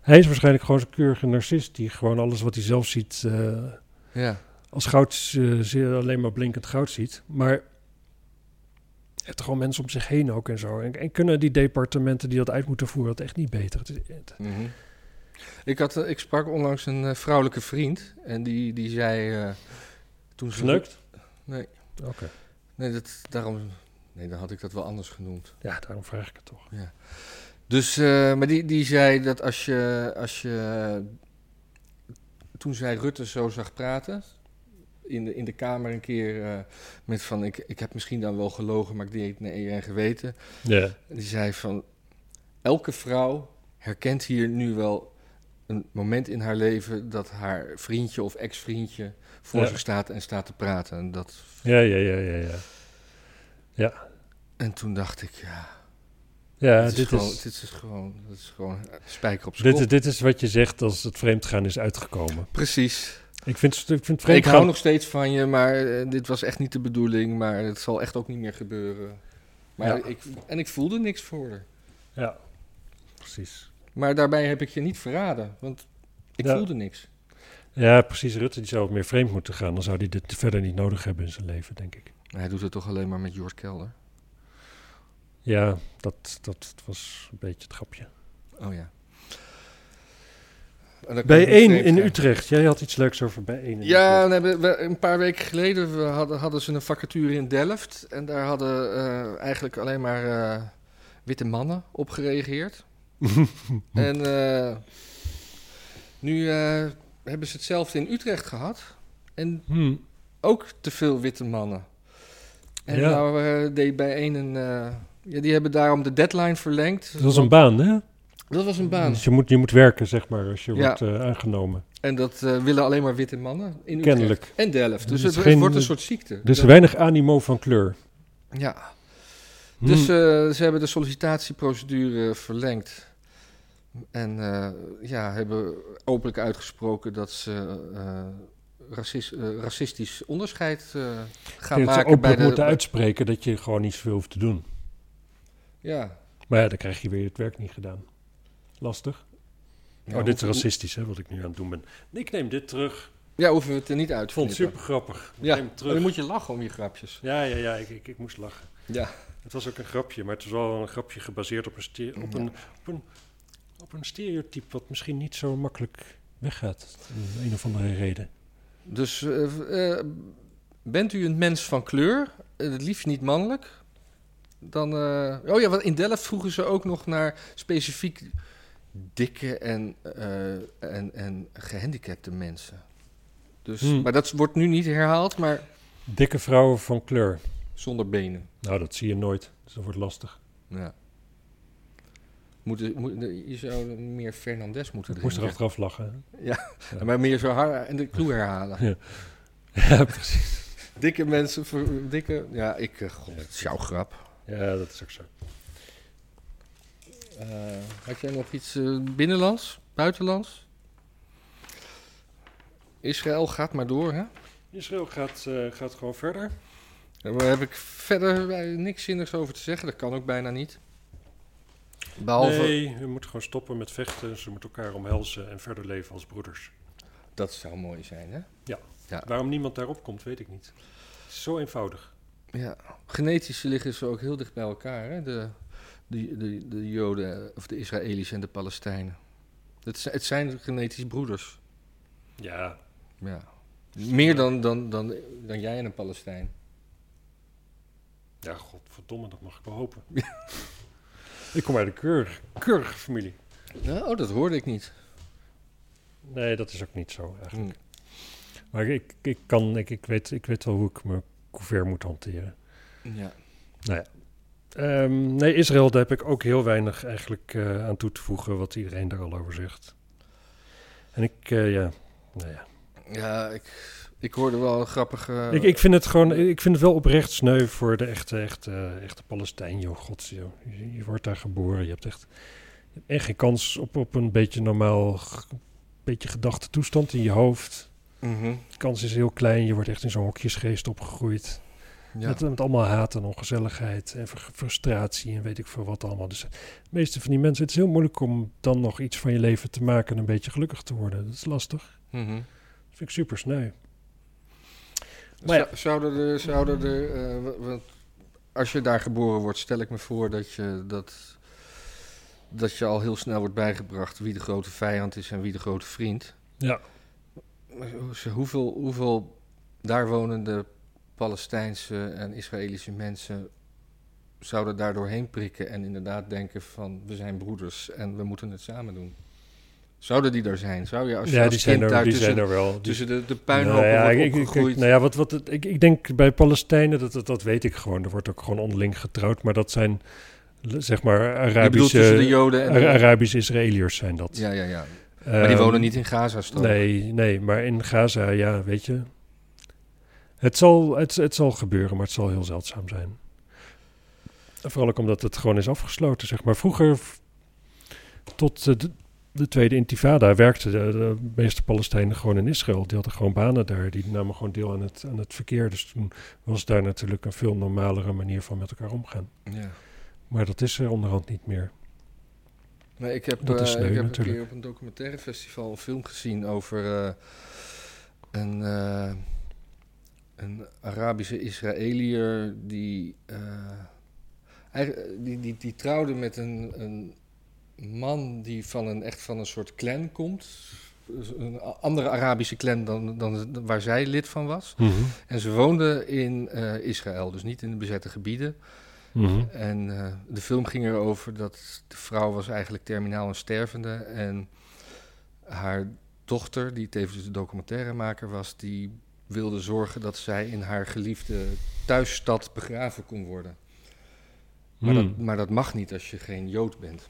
[SPEAKER 1] hij is waarschijnlijk gewoon zo'n keurige narcist die gewoon alles wat hij zelf ziet... eh,
[SPEAKER 2] Ja.
[SPEAKER 1] als goud eh, ze- alleen maar blinkend goud ziet. Maar hij heeft er gewoon mensen om zich heen ook en zo. En, en kunnen die departementen die dat uit moeten voeren dat echt niet beter? Het is- het-
[SPEAKER 2] Mhm. Ik, had, eh, ik sprak onlangs een eh, vrouwelijke vriend en die, die zei eh, toen ze...
[SPEAKER 1] Geneukt?
[SPEAKER 2] Nee.
[SPEAKER 1] Oké.
[SPEAKER 2] Nee, dat, daarom, nee, dan had ik dat wel anders genoemd.
[SPEAKER 1] Ja, daarom vraag ik het toch.
[SPEAKER 2] Dus, eh, maar die, die zei dat als je, als je. Toen zij Rutte zo zag praten. In de, in de Kamer een keer eh, met van: ik, ik heb misschien dan wel gelogen, maar ik deed het naar eer en geweten.
[SPEAKER 1] Ja.
[SPEAKER 2] En Die zei van: Elke vrouw herkent hier nu wel een moment in haar leven. dat haar vriendje of ex-vriendje voor
[SPEAKER 1] Ja.
[SPEAKER 2] zich staat en staat te praten. En, dat,
[SPEAKER 1] Ja, ja, ja, ja, ja.
[SPEAKER 2] en toen dacht ik: Ja,
[SPEAKER 1] Ja,
[SPEAKER 2] dit, is gewoon,
[SPEAKER 1] dit,
[SPEAKER 2] dit is gewoon. Dit is gewoon eh, spijker op
[SPEAKER 1] is-
[SPEAKER 2] zijn
[SPEAKER 1] dit,
[SPEAKER 2] kop.
[SPEAKER 1] is wat je zegt als het vreemdgaan is uitgekomen.
[SPEAKER 2] Precies.
[SPEAKER 1] Ik vind, ik vind het vreemd
[SPEAKER 2] Ik hou
[SPEAKER 1] gaan.
[SPEAKER 2] nog steeds van je, maar eh, dit was echt niet de bedoeling. Maar het zal echt ook niet meer gebeuren. Maar
[SPEAKER 1] Ja.
[SPEAKER 2] ik, en ik voelde niks voor haar.
[SPEAKER 1] Ja, precies.
[SPEAKER 2] Maar daarbij heb ik je niet verraden, want ik
[SPEAKER 1] Ja.
[SPEAKER 2] voelde niks.
[SPEAKER 1] Ja, precies. Rutte die zou wat meer vreemd moeten gaan. Dan zou hij dit verder niet nodig hebben in zijn leven, denk ik.
[SPEAKER 2] Hij doet het toch alleen maar met Jort Kelder?
[SPEAKER 1] Ja, dat, dat was een beetje het grapje.
[SPEAKER 2] Oh ja. En dan
[SPEAKER 1] Bij
[SPEAKER 2] komt het
[SPEAKER 1] 1 in
[SPEAKER 2] steeds-
[SPEAKER 1] Utrecht. Jij had iets leuks over bij 1 in
[SPEAKER 2] Ja,
[SPEAKER 1] Utrecht.
[SPEAKER 2] nee, we- we- een paar weken geleden we hadden, hadden ze een vacature in Delft. En daar hadden eh, eigenlijk alleen maar eh, witte mannen op gereageerd. en eh, nu eh, hebben ze hetzelfde in Utrecht gehad. En
[SPEAKER 1] Hm.
[SPEAKER 2] ook te veel witte mannen. En
[SPEAKER 1] Ja.
[SPEAKER 2] nou eh, deed bij een een... eh, ja, die hebben daarom de deadline verlengd.
[SPEAKER 1] Dat was een baan, hè?
[SPEAKER 2] Dat was een baan.
[SPEAKER 1] Dus je moet, je moet werken, zeg maar, als je
[SPEAKER 2] Ja.
[SPEAKER 1] wordt eh, aangenomen.
[SPEAKER 2] En dat eh, willen alleen maar witte mannen in Utrecht.
[SPEAKER 1] Kennelijk.
[SPEAKER 2] En Delft. Dus
[SPEAKER 1] Er
[SPEAKER 2] het,
[SPEAKER 1] is
[SPEAKER 2] het
[SPEAKER 1] geen- dus
[SPEAKER 2] wordt een soort ziekte.
[SPEAKER 1] Er is
[SPEAKER 2] Dat-
[SPEAKER 1] weinig animo van kleur.
[SPEAKER 2] Ja.
[SPEAKER 1] Hm.
[SPEAKER 2] Dus eh, ze hebben de sollicitatieprocedure verlengd. En eh, ja, hebben openlijk uitgesproken dat ze eh, racis- eh, racistisch onderscheid eh,
[SPEAKER 1] Ik
[SPEAKER 2] gaan
[SPEAKER 1] denk dat ze
[SPEAKER 2] maken bij
[SPEAKER 1] openlijk
[SPEAKER 2] de.
[SPEAKER 1] moeten uitspreken dat je gewoon niet zoveel hoeft te doen.
[SPEAKER 2] Ja.
[SPEAKER 1] Maar ja, dan krijg je weer het werk niet gedaan. Lastig.
[SPEAKER 2] Ja,
[SPEAKER 1] oh, dit is
[SPEAKER 2] hoe-
[SPEAKER 1] racistisch, hè, wat ik nu aan het doen ben. Ik neem dit terug.
[SPEAKER 2] Ja, hoeven we het er niet uit
[SPEAKER 1] Ik
[SPEAKER 2] te
[SPEAKER 1] vond het
[SPEAKER 2] knippen.
[SPEAKER 1] super grappig. Ik
[SPEAKER 2] Ja,
[SPEAKER 1] neem het
[SPEAKER 2] maar
[SPEAKER 1] terug.
[SPEAKER 2] dan moet je lachen om je grapjes.
[SPEAKER 1] Ja, ja, ja, ik, ik, ik moest lachen.
[SPEAKER 2] Ja.
[SPEAKER 1] Het was ook een grapje, maar het was wel een grapje gebaseerd op een, stere- op
[SPEAKER 2] Ja.
[SPEAKER 1] een, op een, op een stereotype wat misschien niet zo makkelijk weggaat. Om een of andere reden.
[SPEAKER 2] Dus eh, eh, bent u een mens van kleur, eh, het liefst niet mannelijk? Dan, eh, oh ja, want in Delft vroegen ze ook nog naar specifiek dikke en, eh, en, en gehandicapte mensen. Dus,
[SPEAKER 1] Hmm.
[SPEAKER 2] Maar dat wordt nu niet herhaald, maar
[SPEAKER 1] Dikke vrouwen van kleur.
[SPEAKER 2] zonder benen.
[SPEAKER 1] Nou, dat zie je nooit. Dus dat wordt lastig.
[SPEAKER 2] Ja. Moet, moet, je zou meer Fernandes moeten
[SPEAKER 1] Ik moest er
[SPEAKER 2] drinken.
[SPEAKER 1] achteraf lachen.
[SPEAKER 2] Maar meer zo hard en de clue herhalen.
[SPEAKER 1] hè. Ja, precies.
[SPEAKER 2] Dikke mensen, voor- dikke... Ja, ik... eh, God, het is jouw grap.
[SPEAKER 1] Ja, dat is ook zo.
[SPEAKER 2] Eh, had jij nog iets eh, binnenlands, buitenlands? Israël gaat maar door, hè?
[SPEAKER 1] Israël gaat, eh, gaat gewoon verder.
[SPEAKER 2] Daar heb ik verder eh, niks zinnigs over te zeggen. Dat kan ook bijna niet. Behalve,
[SPEAKER 1] Nee, we moeten gewoon stoppen met vechten. Ze moeten elkaar omhelzen en verder leven als broeders.
[SPEAKER 2] dat zou mooi zijn, hè?
[SPEAKER 1] Waarom niemand daarop komt, weet ik niet. Het is zo eenvoudig.
[SPEAKER 2] Ja. Genetisch liggen ze ook heel dicht bij elkaar, hè? De, de, de, de Joden, of de Israëli's en de Palestijnen. Het, zi- het zijn genetisch broeders.
[SPEAKER 1] Ja,
[SPEAKER 2] Ja. Meer dan, dan, dan, dan jij en een Palestijn.
[SPEAKER 1] ja godverdomme, dat mag ik wel hopen. ik kom uit een keurige, keurige familie.
[SPEAKER 2] Nou, oh, dat hoorde ik niet.
[SPEAKER 1] Nee, dat is ook niet zo eigenlijk.
[SPEAKER 2] Hm.
[SPEAKER 1] Maar ik, ik, kan, ik, ik, weet, ik weet wel hoe ik mijn couvert moet hanteren.
[SPEAKER 2] Ja.
[SPEAKER 1] Ehm, nee, Israël, daar heb ik ook heel weinig eigenlijk eh, aan toe te voegen wat iedereen daar al over zegt. En ik, eh, ja, nou ja.
[SPEAKER 2] Ja, ik, ik hoorde wel een grappige...
[SPEAKER 1] ik, ik vind het gewoon, ik vind het wel oprecht sneu voor de echte, echte, echte Palestijn, joh, god, joh. Je, je wordt daar geboren, je hebt echt, je hebt echt geen kans op, op een beetje normaal, g- beetje gedachte toestand in je hoofd.
[SPEAKER 2] Mhm.
[SPEAKER 1] De kans is heel klein, je wordt echt in zo'n hokjesgeest opgegroeid.
[SPEAKER 2] ja.
[SPEAKER 1] Met, met allemaal haat en ongezelligheid en ver- frustratie en weet ik veel wat allemaal. Dus de meeste van die mensen, het is heel moeilijk om dan nog iets van je leven te maken en een beetje gelukkig te worden. Dat is lastig.
[SPEAKER 2] Mhm.
[SPEAKER 1] Dat vind ik super sneu. Maar
[SPEAKER 2] Zou- Zouden er... Zouden er eh, wa- want als je daar geboren wordt, stel ik me voor dat je, dat, dat je al heel snel wordt bijgebracht... wie de grote vijand is en wie de grote vriend.
[SPEAKER 1] Ja.
[SPEAKER 2] Maar hoe- ze- Hoeveel, hoeveel daar wonende Palestijnse en Israëlische mensen zouden daar doorheen prikken... en inderdaad denken van, we zijn broeders en we moeten het samen doen? Zouden die daar zijn? Zou je als je
[SPEAKER 1] ja,
[SPEAKER 2] als
[SPEAKER 1] die
[SPEAKER 2] kind
[SPEAKER 1] zijn, er,
[SPEAKER 2] daar
[SPEAKER 1] die
[SPEAKER 2] tussen
[SPEAKER 1] zijn er wel. Die-
[SPEAKER 2] tussen de, de puinhopen
[SPEAKER 1] Nou ja,
[SPEAKER 2] wordt
[SPEAKER 1] ik, ik,
[SPEAKER 2] opgegroeid.
[SPEAKER 1] ik, nou ja, wat, wat, het- ik, ik denk bij Palestijnen, dat, dat, dat weet ik gewoon. Er wordt ook gewoon onderling getrouwd. Maar dat zijn, l- zeg maar,
[SPEAKER 2] je bedoelt tussen de
[SPEAKER 1] Arabische...
[SPEAKER 2] Joden en de...
[SPEAKER 1] Ara- Arabische Israëliërs zijn dat.
[SPEAKER 2] Ja, ja, ja. Maar die
[SPEAKER 1] Ehm,
[SPEAKER 2] wonen niet in Gaza-strook.
[SPEAKER 1] Nee, nee, maar in Gaza, ja, weet je. Het zal, het, het zal gebeuren, maar het zal heel zeldzaam zijn. En Vooral ook omdat het gewoon is afgesloten, zeg maar. Vroeger, v- tot eh, de- de Tweede Intifada werkten de, de meeste Palestijnen gewoon in Israël. Die hadden gewoon banen daar. Die namen gewoon deel aan het, aan het verkeer. Dus toen was daar natuurlijk een veel normalere manier van met elkaar omgaan.
[SPEAKER 2] Ja.
[SPEAKER 1] Maar dat is er onderhand niet meer.
[SPEAKER 2] Nee, ik heb,
[SPEAKER 1] Dat is
[SPEAKER 2] eh,
[SPEAKER 1] sneu
[SPEAKER 2] ik heb een
[SPEAKER 1] natuurlijk.
[SPEAKER 2] keer op een documentaire festival een film gezien over eh, een, eh, een Arabische Israëliër die, eh, eigen- eh, die, die, die trouwde met een, een man die van een, echt van een soort clan komt. Dus Een a- andere Arabische clan dan, dan waar zij lid van was. En ze woonden in eh, Israël, dus niet in de bezette gebieden.
[SPEAKER 1] Mhm.
[SPEAKER 2] En eh, de film ging erover dat de vrouw was eigenlijk terminaal een stervende. En haar dochter, die tevens de documentairemaker was, die wilde zorgen dat zij in haar geliefde thuisstad begraven kon worden. Maar,
[SPEAKER 1] Hmm.
[SPEAKER 2] dat, maar dat mag niet als je geen Jood bent.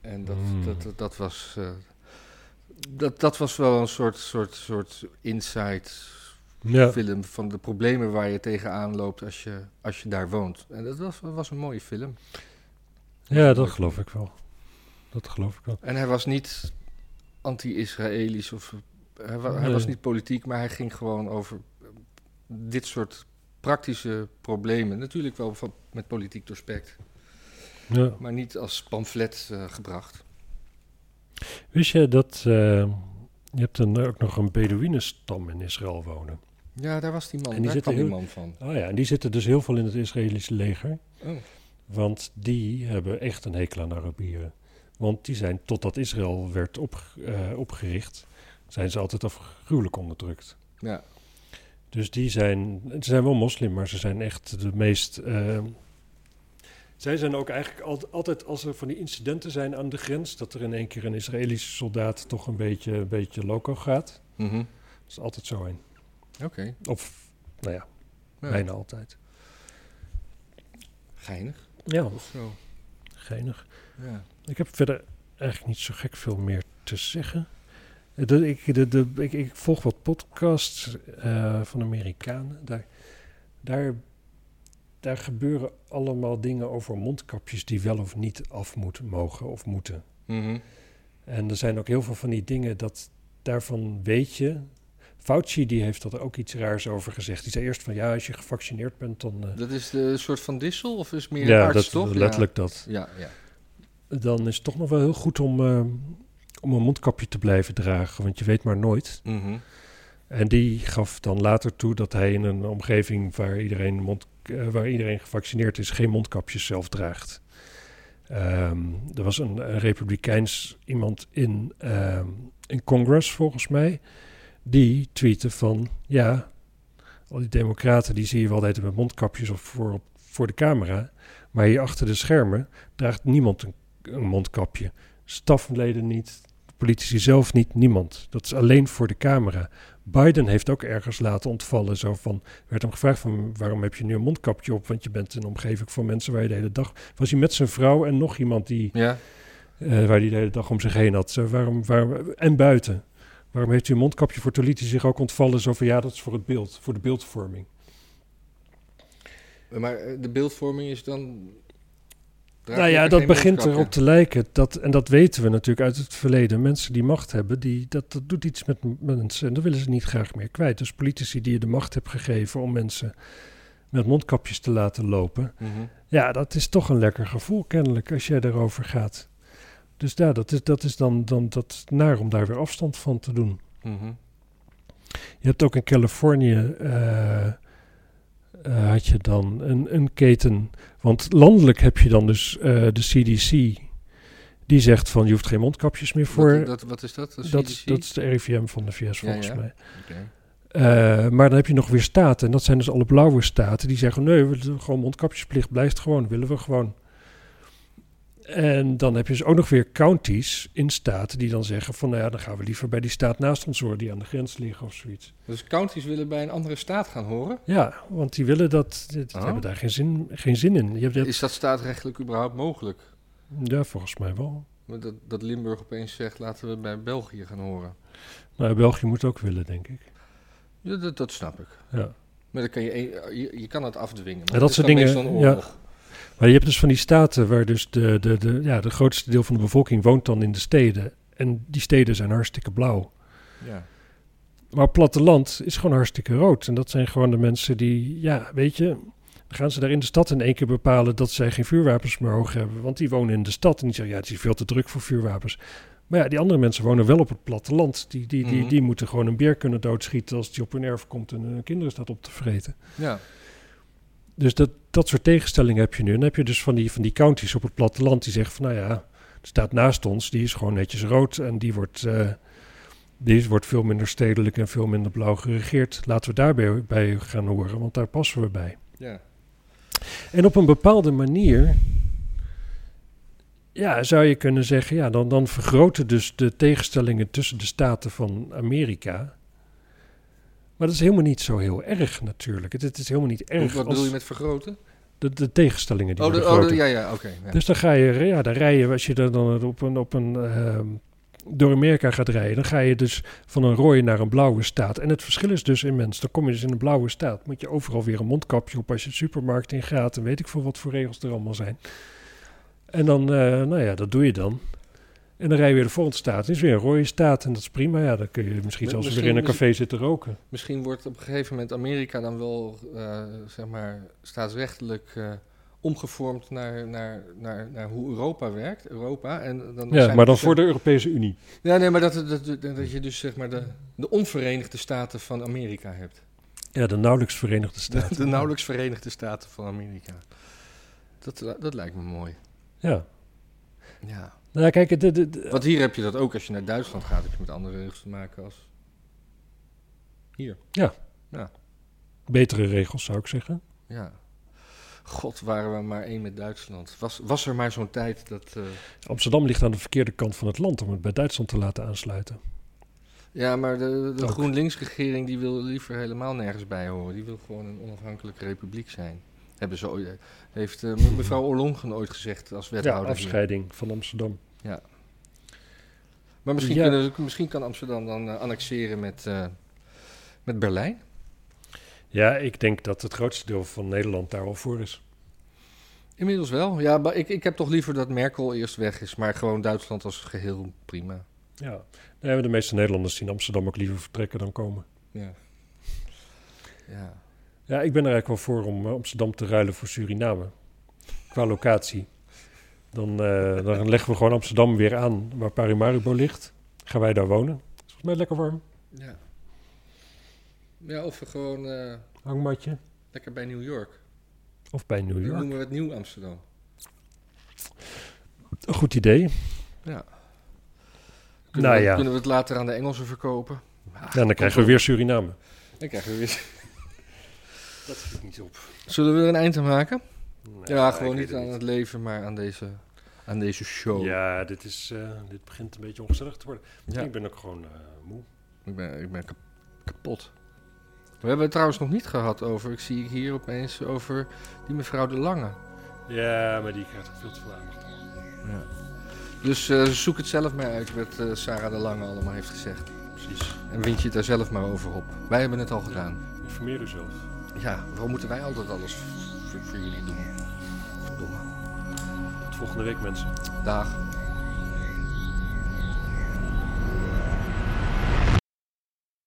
[SPEAKER 2] En dat,
[SPEAKER 1] Hmm.
[SPEAKER 2] dat, dat, dat was. eh, dat, dat was wel een soort, soort, soort insight
[SPEAKER 1] Ja.
[SPEAKER 2] film van de problemen waar je tegenaan loopt als je, als je daar woont. En dat was, was een mooie film.
[SPEAKER 1] ja, dat geloof ik wel. Dat geloof ik wel.
[SPEAKER 2] En hij was niet anti-Israëlisch of hij, wa- hij
[SPEAKER 1] Nee.
[SPEAKER 2] was niet politiek, maar hij ging gewoon over eh, dit soort praktische problemen. Natuurlijk wel van, met politiek doorspekt,
[SPEAKER 1] Ja.
[SPEAKER 2] maar niet als pamflet eh, gebracht.
[SPEAKER 1] Wist je dat eh, je hebt een, ook nog een Bedouinenstam in Israël wonen?
[SPEAKER 2] Ja, daar was die man.
[SPEAKER 1] En die
[SPEAKER 2] daar
[SPEAKER 1] zit
[SPEAKER 2] kwam
[SPEAKER 1] er
[SPEAKER 2] die
[SPEAKER 1] heel-
[SPEAKER 2] man van.
[SPEAKER 1] Oh ja, en die zitten dus heel veel in het Israëlische leger.
[SPEAKER 2] Oh,
[SPEAKER 1] Want die hebben echt een hekel aan Arabieren. Want die zijn, totdat Israël werd opge- eh, opgericht, zijn ze altijd afgruwelijk onderdrukt.
[SPEAKER 2] ja.
[SPEAKER 1] Dus die zijn, ze zijn wel moslim, maar ze zijn echt de meest... eh, zij zijn ook eigenlijk al- altijd, als er van die incidenten zijn aan de grens, dat er in één keer een Israëlische soldaat toch een beetje, een beetje loco gaat.
[SPEAKER 2] Mhm.
[SPEAKER 1] Dat is altijd zo een.
[SPEAKER 2] Oké.
[SPEAKER 1] Of, nou ja,
[SPEAKER 2] Ja.
[SPEAKER 1] bijna altijd.
[SPEAKER 2] Geinig
[SPEAKER 1] Ja,
[SPEAKER 2] of zo.
[SPEAKER 1] geinig.
[SPEAKER 2] Ja.
[SPEAKER 1] Ik heb verder eigenlijk niet zo gek veel meer te zeggen. Eh, dat ik, de, de, ik, ik volg wat podcasts eh, van Amerikanen. Daar, daar, daar gebeuren allemaal dingen over mondkapjes die wel of niet af moeten, mogen of moeten.
[SPEAKER 2] Mhm.
[SPEAKER 1] En er zijn ook heel veel van die dingen dat daarvan weet je. Fauci die heeft dat ook iets raars over gezegd. Die zei eerst van ja, als je gevaccineerd bent dan. eh,
[SPEAKER 2] Dat is de soort van dissel of is meer een
[SPEAKER 1] ja,
[SPEAKER 2] arts,
[SPEAKER 1] dat,
[SPEAKER 2] toch?
[SPEAKER 1] letterlijk dat.
[SPEAKER 2] Ja, ja.
[SPEAKER 1] dan is het toch nog wel heel goed om, eh, om een mondkapje te blijven dragen, want je weet maar nooit.
[SPEAKER 2] Mhm.
[SPEAKER 1] En die gaf dan later toe dat hij in een omgeving waar iedereen, mond, eh, waar iedereen gevaccineerd is, geen mondkapjes zelf draagt. Ehm, er was een, een republikeins iemand in, ehm, in Congress, volgens mij, die tweette van, ja, al die democraten die zie je wel altijd met mondkapjes op voor, op- voor de camera, maar hier achter de schermen draagt niemand een, een mondkapje. Stafleden niet, politici zelf niet, niemand. Dat is alleen voor de camera. Biden heeft ook ergens laten ontvallen. Zo van, werd hem gevraagd van waarom heb je nu een mondkapje op? Want je bent in een omgeving van mensen waar je de hele dag... Was hij met zijn vrouw en nog iemand die,
[SPEAKER 2] Ja,
[SPEAKER 1] eh, waar hij de hele dag om zich heen had. Zo, waarom, waarom, en buiten. Waarom heeft u een mondkapje voor toen liet hij zich ook ontvallen? Zo van ja, dat is voor het beeld, voor de beeldvorming.
[SPEAKER 2] maar eh, de beeldvorming is dan... draag
[SPEAKER 1] nou
[SPEAKER 2] je
[SPEAKER 1] ja,
[SPEAKER 2] er
[SPEAKER 1] dat
[SPEAKER 2] geen
[SPEAKER 1] begint
[SPEAKER 2] mondkapje.
[SPEAKER 1] erop te lijken. Dat, en dat weten we natuurlijk uit het verleden. Mensen die macht hebben, die, dat, dat doet iets met m- mensen. En dat willen ze niet graag meer kwijt. Dus politici die je de macht hebt gegeven om mensen met mondkapjes te laten lopen.
[SPEAKER 2] Mhm.
[SPEAKER 1] Ja, dat is toch een lekker gevoel kennelijk als jij daarover gaat. Dus ja, dat is, dat is dan, dan dat is naar om daar weer afstand van te doen.
[SPEAKER 2] Mhm.
[SPEAKER 1] Je hebt ook in Californië. eh, eh, had je dan een, een keten. Want landelijk heb je dan dus eh, de CDC. Die zegt van je hoeft geen mondkapjes meer voor.
[SPEAKER 2] Wat, dat, wat is dat? Een
[SPEAKER 1] dat,
[SPEAKER 2] CDC?
[SPEAKER 1] dat is de RIVM van de VS
[SPEAKER 2] Ja,
[SPEAKER 1] volgens
[SPEAKER 2] ja.
[SPEAKER 1] mij.
[SPEAKER 2] Oké.
[SPEAKER 1] Eh, maar dan heb je nog weer staten. En dat zijn dus alle blauwe staten. Die zeggen nee, we doen gewoon mondkapjesplicht blijft gewoon. Willen we gewoon. En dan heb je dus ook nog weer counties in staten die dan zeggen van nou ja, dan gaan we liever bij die staat naast ons horen die aan de grens liggen of zoiets.
[SPEAKER 2] Dus counties willen bij een andere staat gaan horen?
[SPEAKER 1] Ja, want die willen dat. Die, die
[SPEAKER 2] Oh.
[SPEAKER 1] hebben daar geen zin, geen zin in. Je hebt, dat-
[SPEAKER 2] Is dat staatrechtelijk überhaupt mogelijk?
[SPEAKER 1] Ja, volgens mij wel.
[SPEAKER 2] Want Dat, dat Limburg opeens zegt, laten we bij België gaan horen.
[SPEAKER 1] Nou, België moet ook willen, denk ik.
[SPEAKER 2] Ja, dat, dat snap ik.
[SPEAKER 1] Ja.
[SPEAKER 2] Maar dan kan je, een- je, je kan het afdwingen.
[SPEAKER 1] dat
[SPEAKER 2] Maar het is
[SPEAKER 1] soort
[SPEAKER 2] dan
[SPEAKER 1] dingen,
[SPEAKER 2] meestal een oorlog.
[SPEAKER 1] Maar Maar je hebt dus van die staten waar dus de, de, de, ja, de grootste deel van de bevolking woont dan in de steden. En die steden zijn hartstikke blauw.
[SPEAKER 2] Ja.
[SPEAKER 1] Maar platteland is gewoon hartstikke rood. En dat zijn gewoon de mensen die, ja, weet je, gaan ze daar in de stad in één keer bepalen dat zij geen vuurwapens meer hoog hebben. Want die wonen in de stad en die zeggen, ja, het is veel te druk voor vuurwapens. Maar ja, die andere mensen wonen wel op het platteland. Die, die, die,
[SPEAKER 2] Mhm.
[SPEAKER 1] die moeten gewoon een beer kunnen doodschieten als die op hun erf komt en hun kinderen staat op te vreten.
[SPEAKER 2] Ja.
[SPEAKER 1] Dus dat, dat soort tegenstellingen heb je nu. En dan heb je dus van die, van die counties op het platteland die zeggen van nou ja, de staat naast ons, die is gewoon netjes rood en die wordt, eh, die is- wordt veel minder stedelijk en veel minder blauw geregeerd. Laten we daarbij bij gaan horen, want daar passen we bij.
[SPEAKER 2] ja.
[SPEAKER 1] En op een bepaalde manier ja, zou je kunnen zeggen, ja, dan, dan vergroten dus de tegenstellingen tussen de staten van Amerika. Maar dat is helemaal niet zo heel erg natuurlijk. Het, het is helemaal niet
[SPEAKER 2] Wat
[SPEAKER 1] erg
[SPEAKER 2] wat bedoel je
[SPEAKER 1] als
[SPEAKER 2] met vergroten?
[SPEAKER 1] de, de tegenstellingen die
[SPEAKER 2] Oh, de-
[SPEAKER 1] worden
[SPEAKER 2] oh, de-
[SPEAKER 1] groter.
[SPEAKER 2] ja, ja, oké. ja.
[SPEAKER 1] Dus dan ga je, ja, dan rij je, als je dan- dan op een, op een ehm, door Amerika gaat rijden, dan ga je dus van een rode naar een blauwe staat. En het verschil is dus immens. Dan kom je dus in een blauwe staat. Moet je overal weer een mondkapje op als je de supermarkt in gaat en weet ik veel wat voor regels er allemaal zijn. En dan, eh, nou ja, dat doe je dan. En dan rij je weer de volgende staat. Het is weer een rode staat en dat is prima. Ja, dan kun je misschien
[SPEAKER 2] Mi-
[SPEAKER 1] zelfs weer
[SPEAKER 2] misschien-
[SPEAKER 1] in een café zitten roken.
[SPEAKER 2] Misschien wordt op een gegeven moment Amerika dan wel, eh, zeg maar, staatsrechtelijk eh, omgevormd naar, naar, naar, naar hoe Europa werkt. Europa. En dan
[SPEAKER 1] Ja,
[SPEAKER 2] zijn
[SPEAKER 1] maar dan
[SPEAKER 2] dus,
[SPEAKER 1] voor de Europese Unie.
[SPEAKER 2] Ja, nee, maar dat, dat, dat, dat je dus, zeg maar, de, de onverenigde staten van Amerika hebt.
[SPEAKER 1] Ja, de nauwelijks Verenigde
[SPEAKER 2] De,
[SPEAKER 1] Staten.
[SPEAKER 2] de nauwelijks verenigde staten van Amerika. Dat, dat lijkt me mooi.
[SPEAKER 1] Ja.
[SPEAKER 2] Ja.
[SPEAKER 1] Nou, ja, kijk, de, de, de-
[SPEAKER 2] Want hier heb je dat ook. Als je naar Duitsland gaat, heb je met andere regels te maken als... Hier.
[SPEAKER 1] betere regels zou ik zeggen.
[SPEAKER 2] Ja. God, waren we maar één met Duitsland. Was, was er maar zo'n tijd dat... eh,
[SPEAKER 1] Amsterdam ligt aan de verkeerde kant van het land om het bij Duitsland te laten aansluiten.
[SPEAKER 2] Ja, maar de, de
[SPEAKER 1] Ook.
[SPEAKER 2] GroenLinks-regering die wil liever helemaal nergens bij horen. Die wil gewoon een onafhankelijke republiek zijn. Hebben ze ooit, heeft eh, me- mevrouw Ollongren ooit gezegd als
[SPEAKER 1] Ja,
[SPEAKER 2] wethouder. hier.
[SPEAKER 1] afscheiding van Amsterdam.
[SPEAKER 2] Maar misschien,
[SPEAKER 1] Ja.
[SPEAKER 2] kunnen, ze- misschien kan Amsterdam dan eh, annexeren met, eh, met Berlijn.
[SPEAKER 1] Ja, ik denk dat het grootste deel van Nederland daar al voor is.
[SPEAKER 2] Inmiddels wel. Ja, maar ik, ik heb toch liever dat Merkel eerst weg is. Maar gewoon Duitsland als geheel prima.
[SPEAKER 1] Ja. Nee, maar de meeste Nederlanders zien Amsterdam ook liever vertrekken dan komen.
[SPEAKER 2] Ja. Ja.
[SPEAKER 1] Ja, ik ben er eigenlijk wel voor om eh, Amsterdam te ruilen voor Suriname. Qua locatie. Dan, eh, dan leggen we gewoon Amsterdam weer aan waar Paramaribo ligt. Gaan wij daar wonen. Is volgens mij lekker warm.
[SPEAKER 2] Ja, ja of we gewoon eh,
[SPEAKER 1] Hangmatje.
[SPEAKER 2] lekker bij New York.
[SPEAKER 1] Of bij New
[SPEAKER 2] Dan
[SPEAKER 1] York.
[SPEAKER 2] noemen we het Nieuw Amsterdam.
[SPEAKER 1] Een goed idee.
[SPEAKER 2] Kunnen,
[SPEAKER 1] Nou
[SPEAKER 2] we,
[SPEAKER 1] ja.
[SPEAKER 2] kunnen we het later aan de Engelsen verkopen?
[SPEAKER 1] Ja, dan krijgen we weer Suriname.
[SPEAKER 2] Dan krijgen we weer...
[SPEAKER 1] Dat schiet niet op.
[SPEAKER 2] Zullen we er een eind aan maken? ja, gewoon niet aan het leven, maar aan deze, aan deze show.
[SPEAKER 1] Ja, dit, is, eh, dit begint een beetje ongezellig te worden.
[SPEAKER 2] Ja,
[SPEAKER 1] Ik ben ook gewoon eh, moe.
[SPEAKER 2] ik ben, ik ben kap- kapot. We hebben het trouwens nog niet gehad over, ik zie hier opeens, over die mevrouw De Lange.
[SPEAKER 1] Ja, maar die krijgt veel te veel aandacht.
[SPEAKER 2] Dus eh, zoek het zelf maar uit wat eh, Sarah De Lange allemaal heeft gezegd.
[SPEAKER 1] Precies.
[SPEAKER 2] En wind je het daar zelf maar over op. Wij hebben het al gedaan.
[SPEAKER 1] Informeer uzelf.
[SPEAKER 2] Ja, waarom moeten wij altijd alles voor, voor jullie doen? Verdomme.
[SPEAKER 1] Tot volgende week, mensen.
[SPEAKER 2] Dag.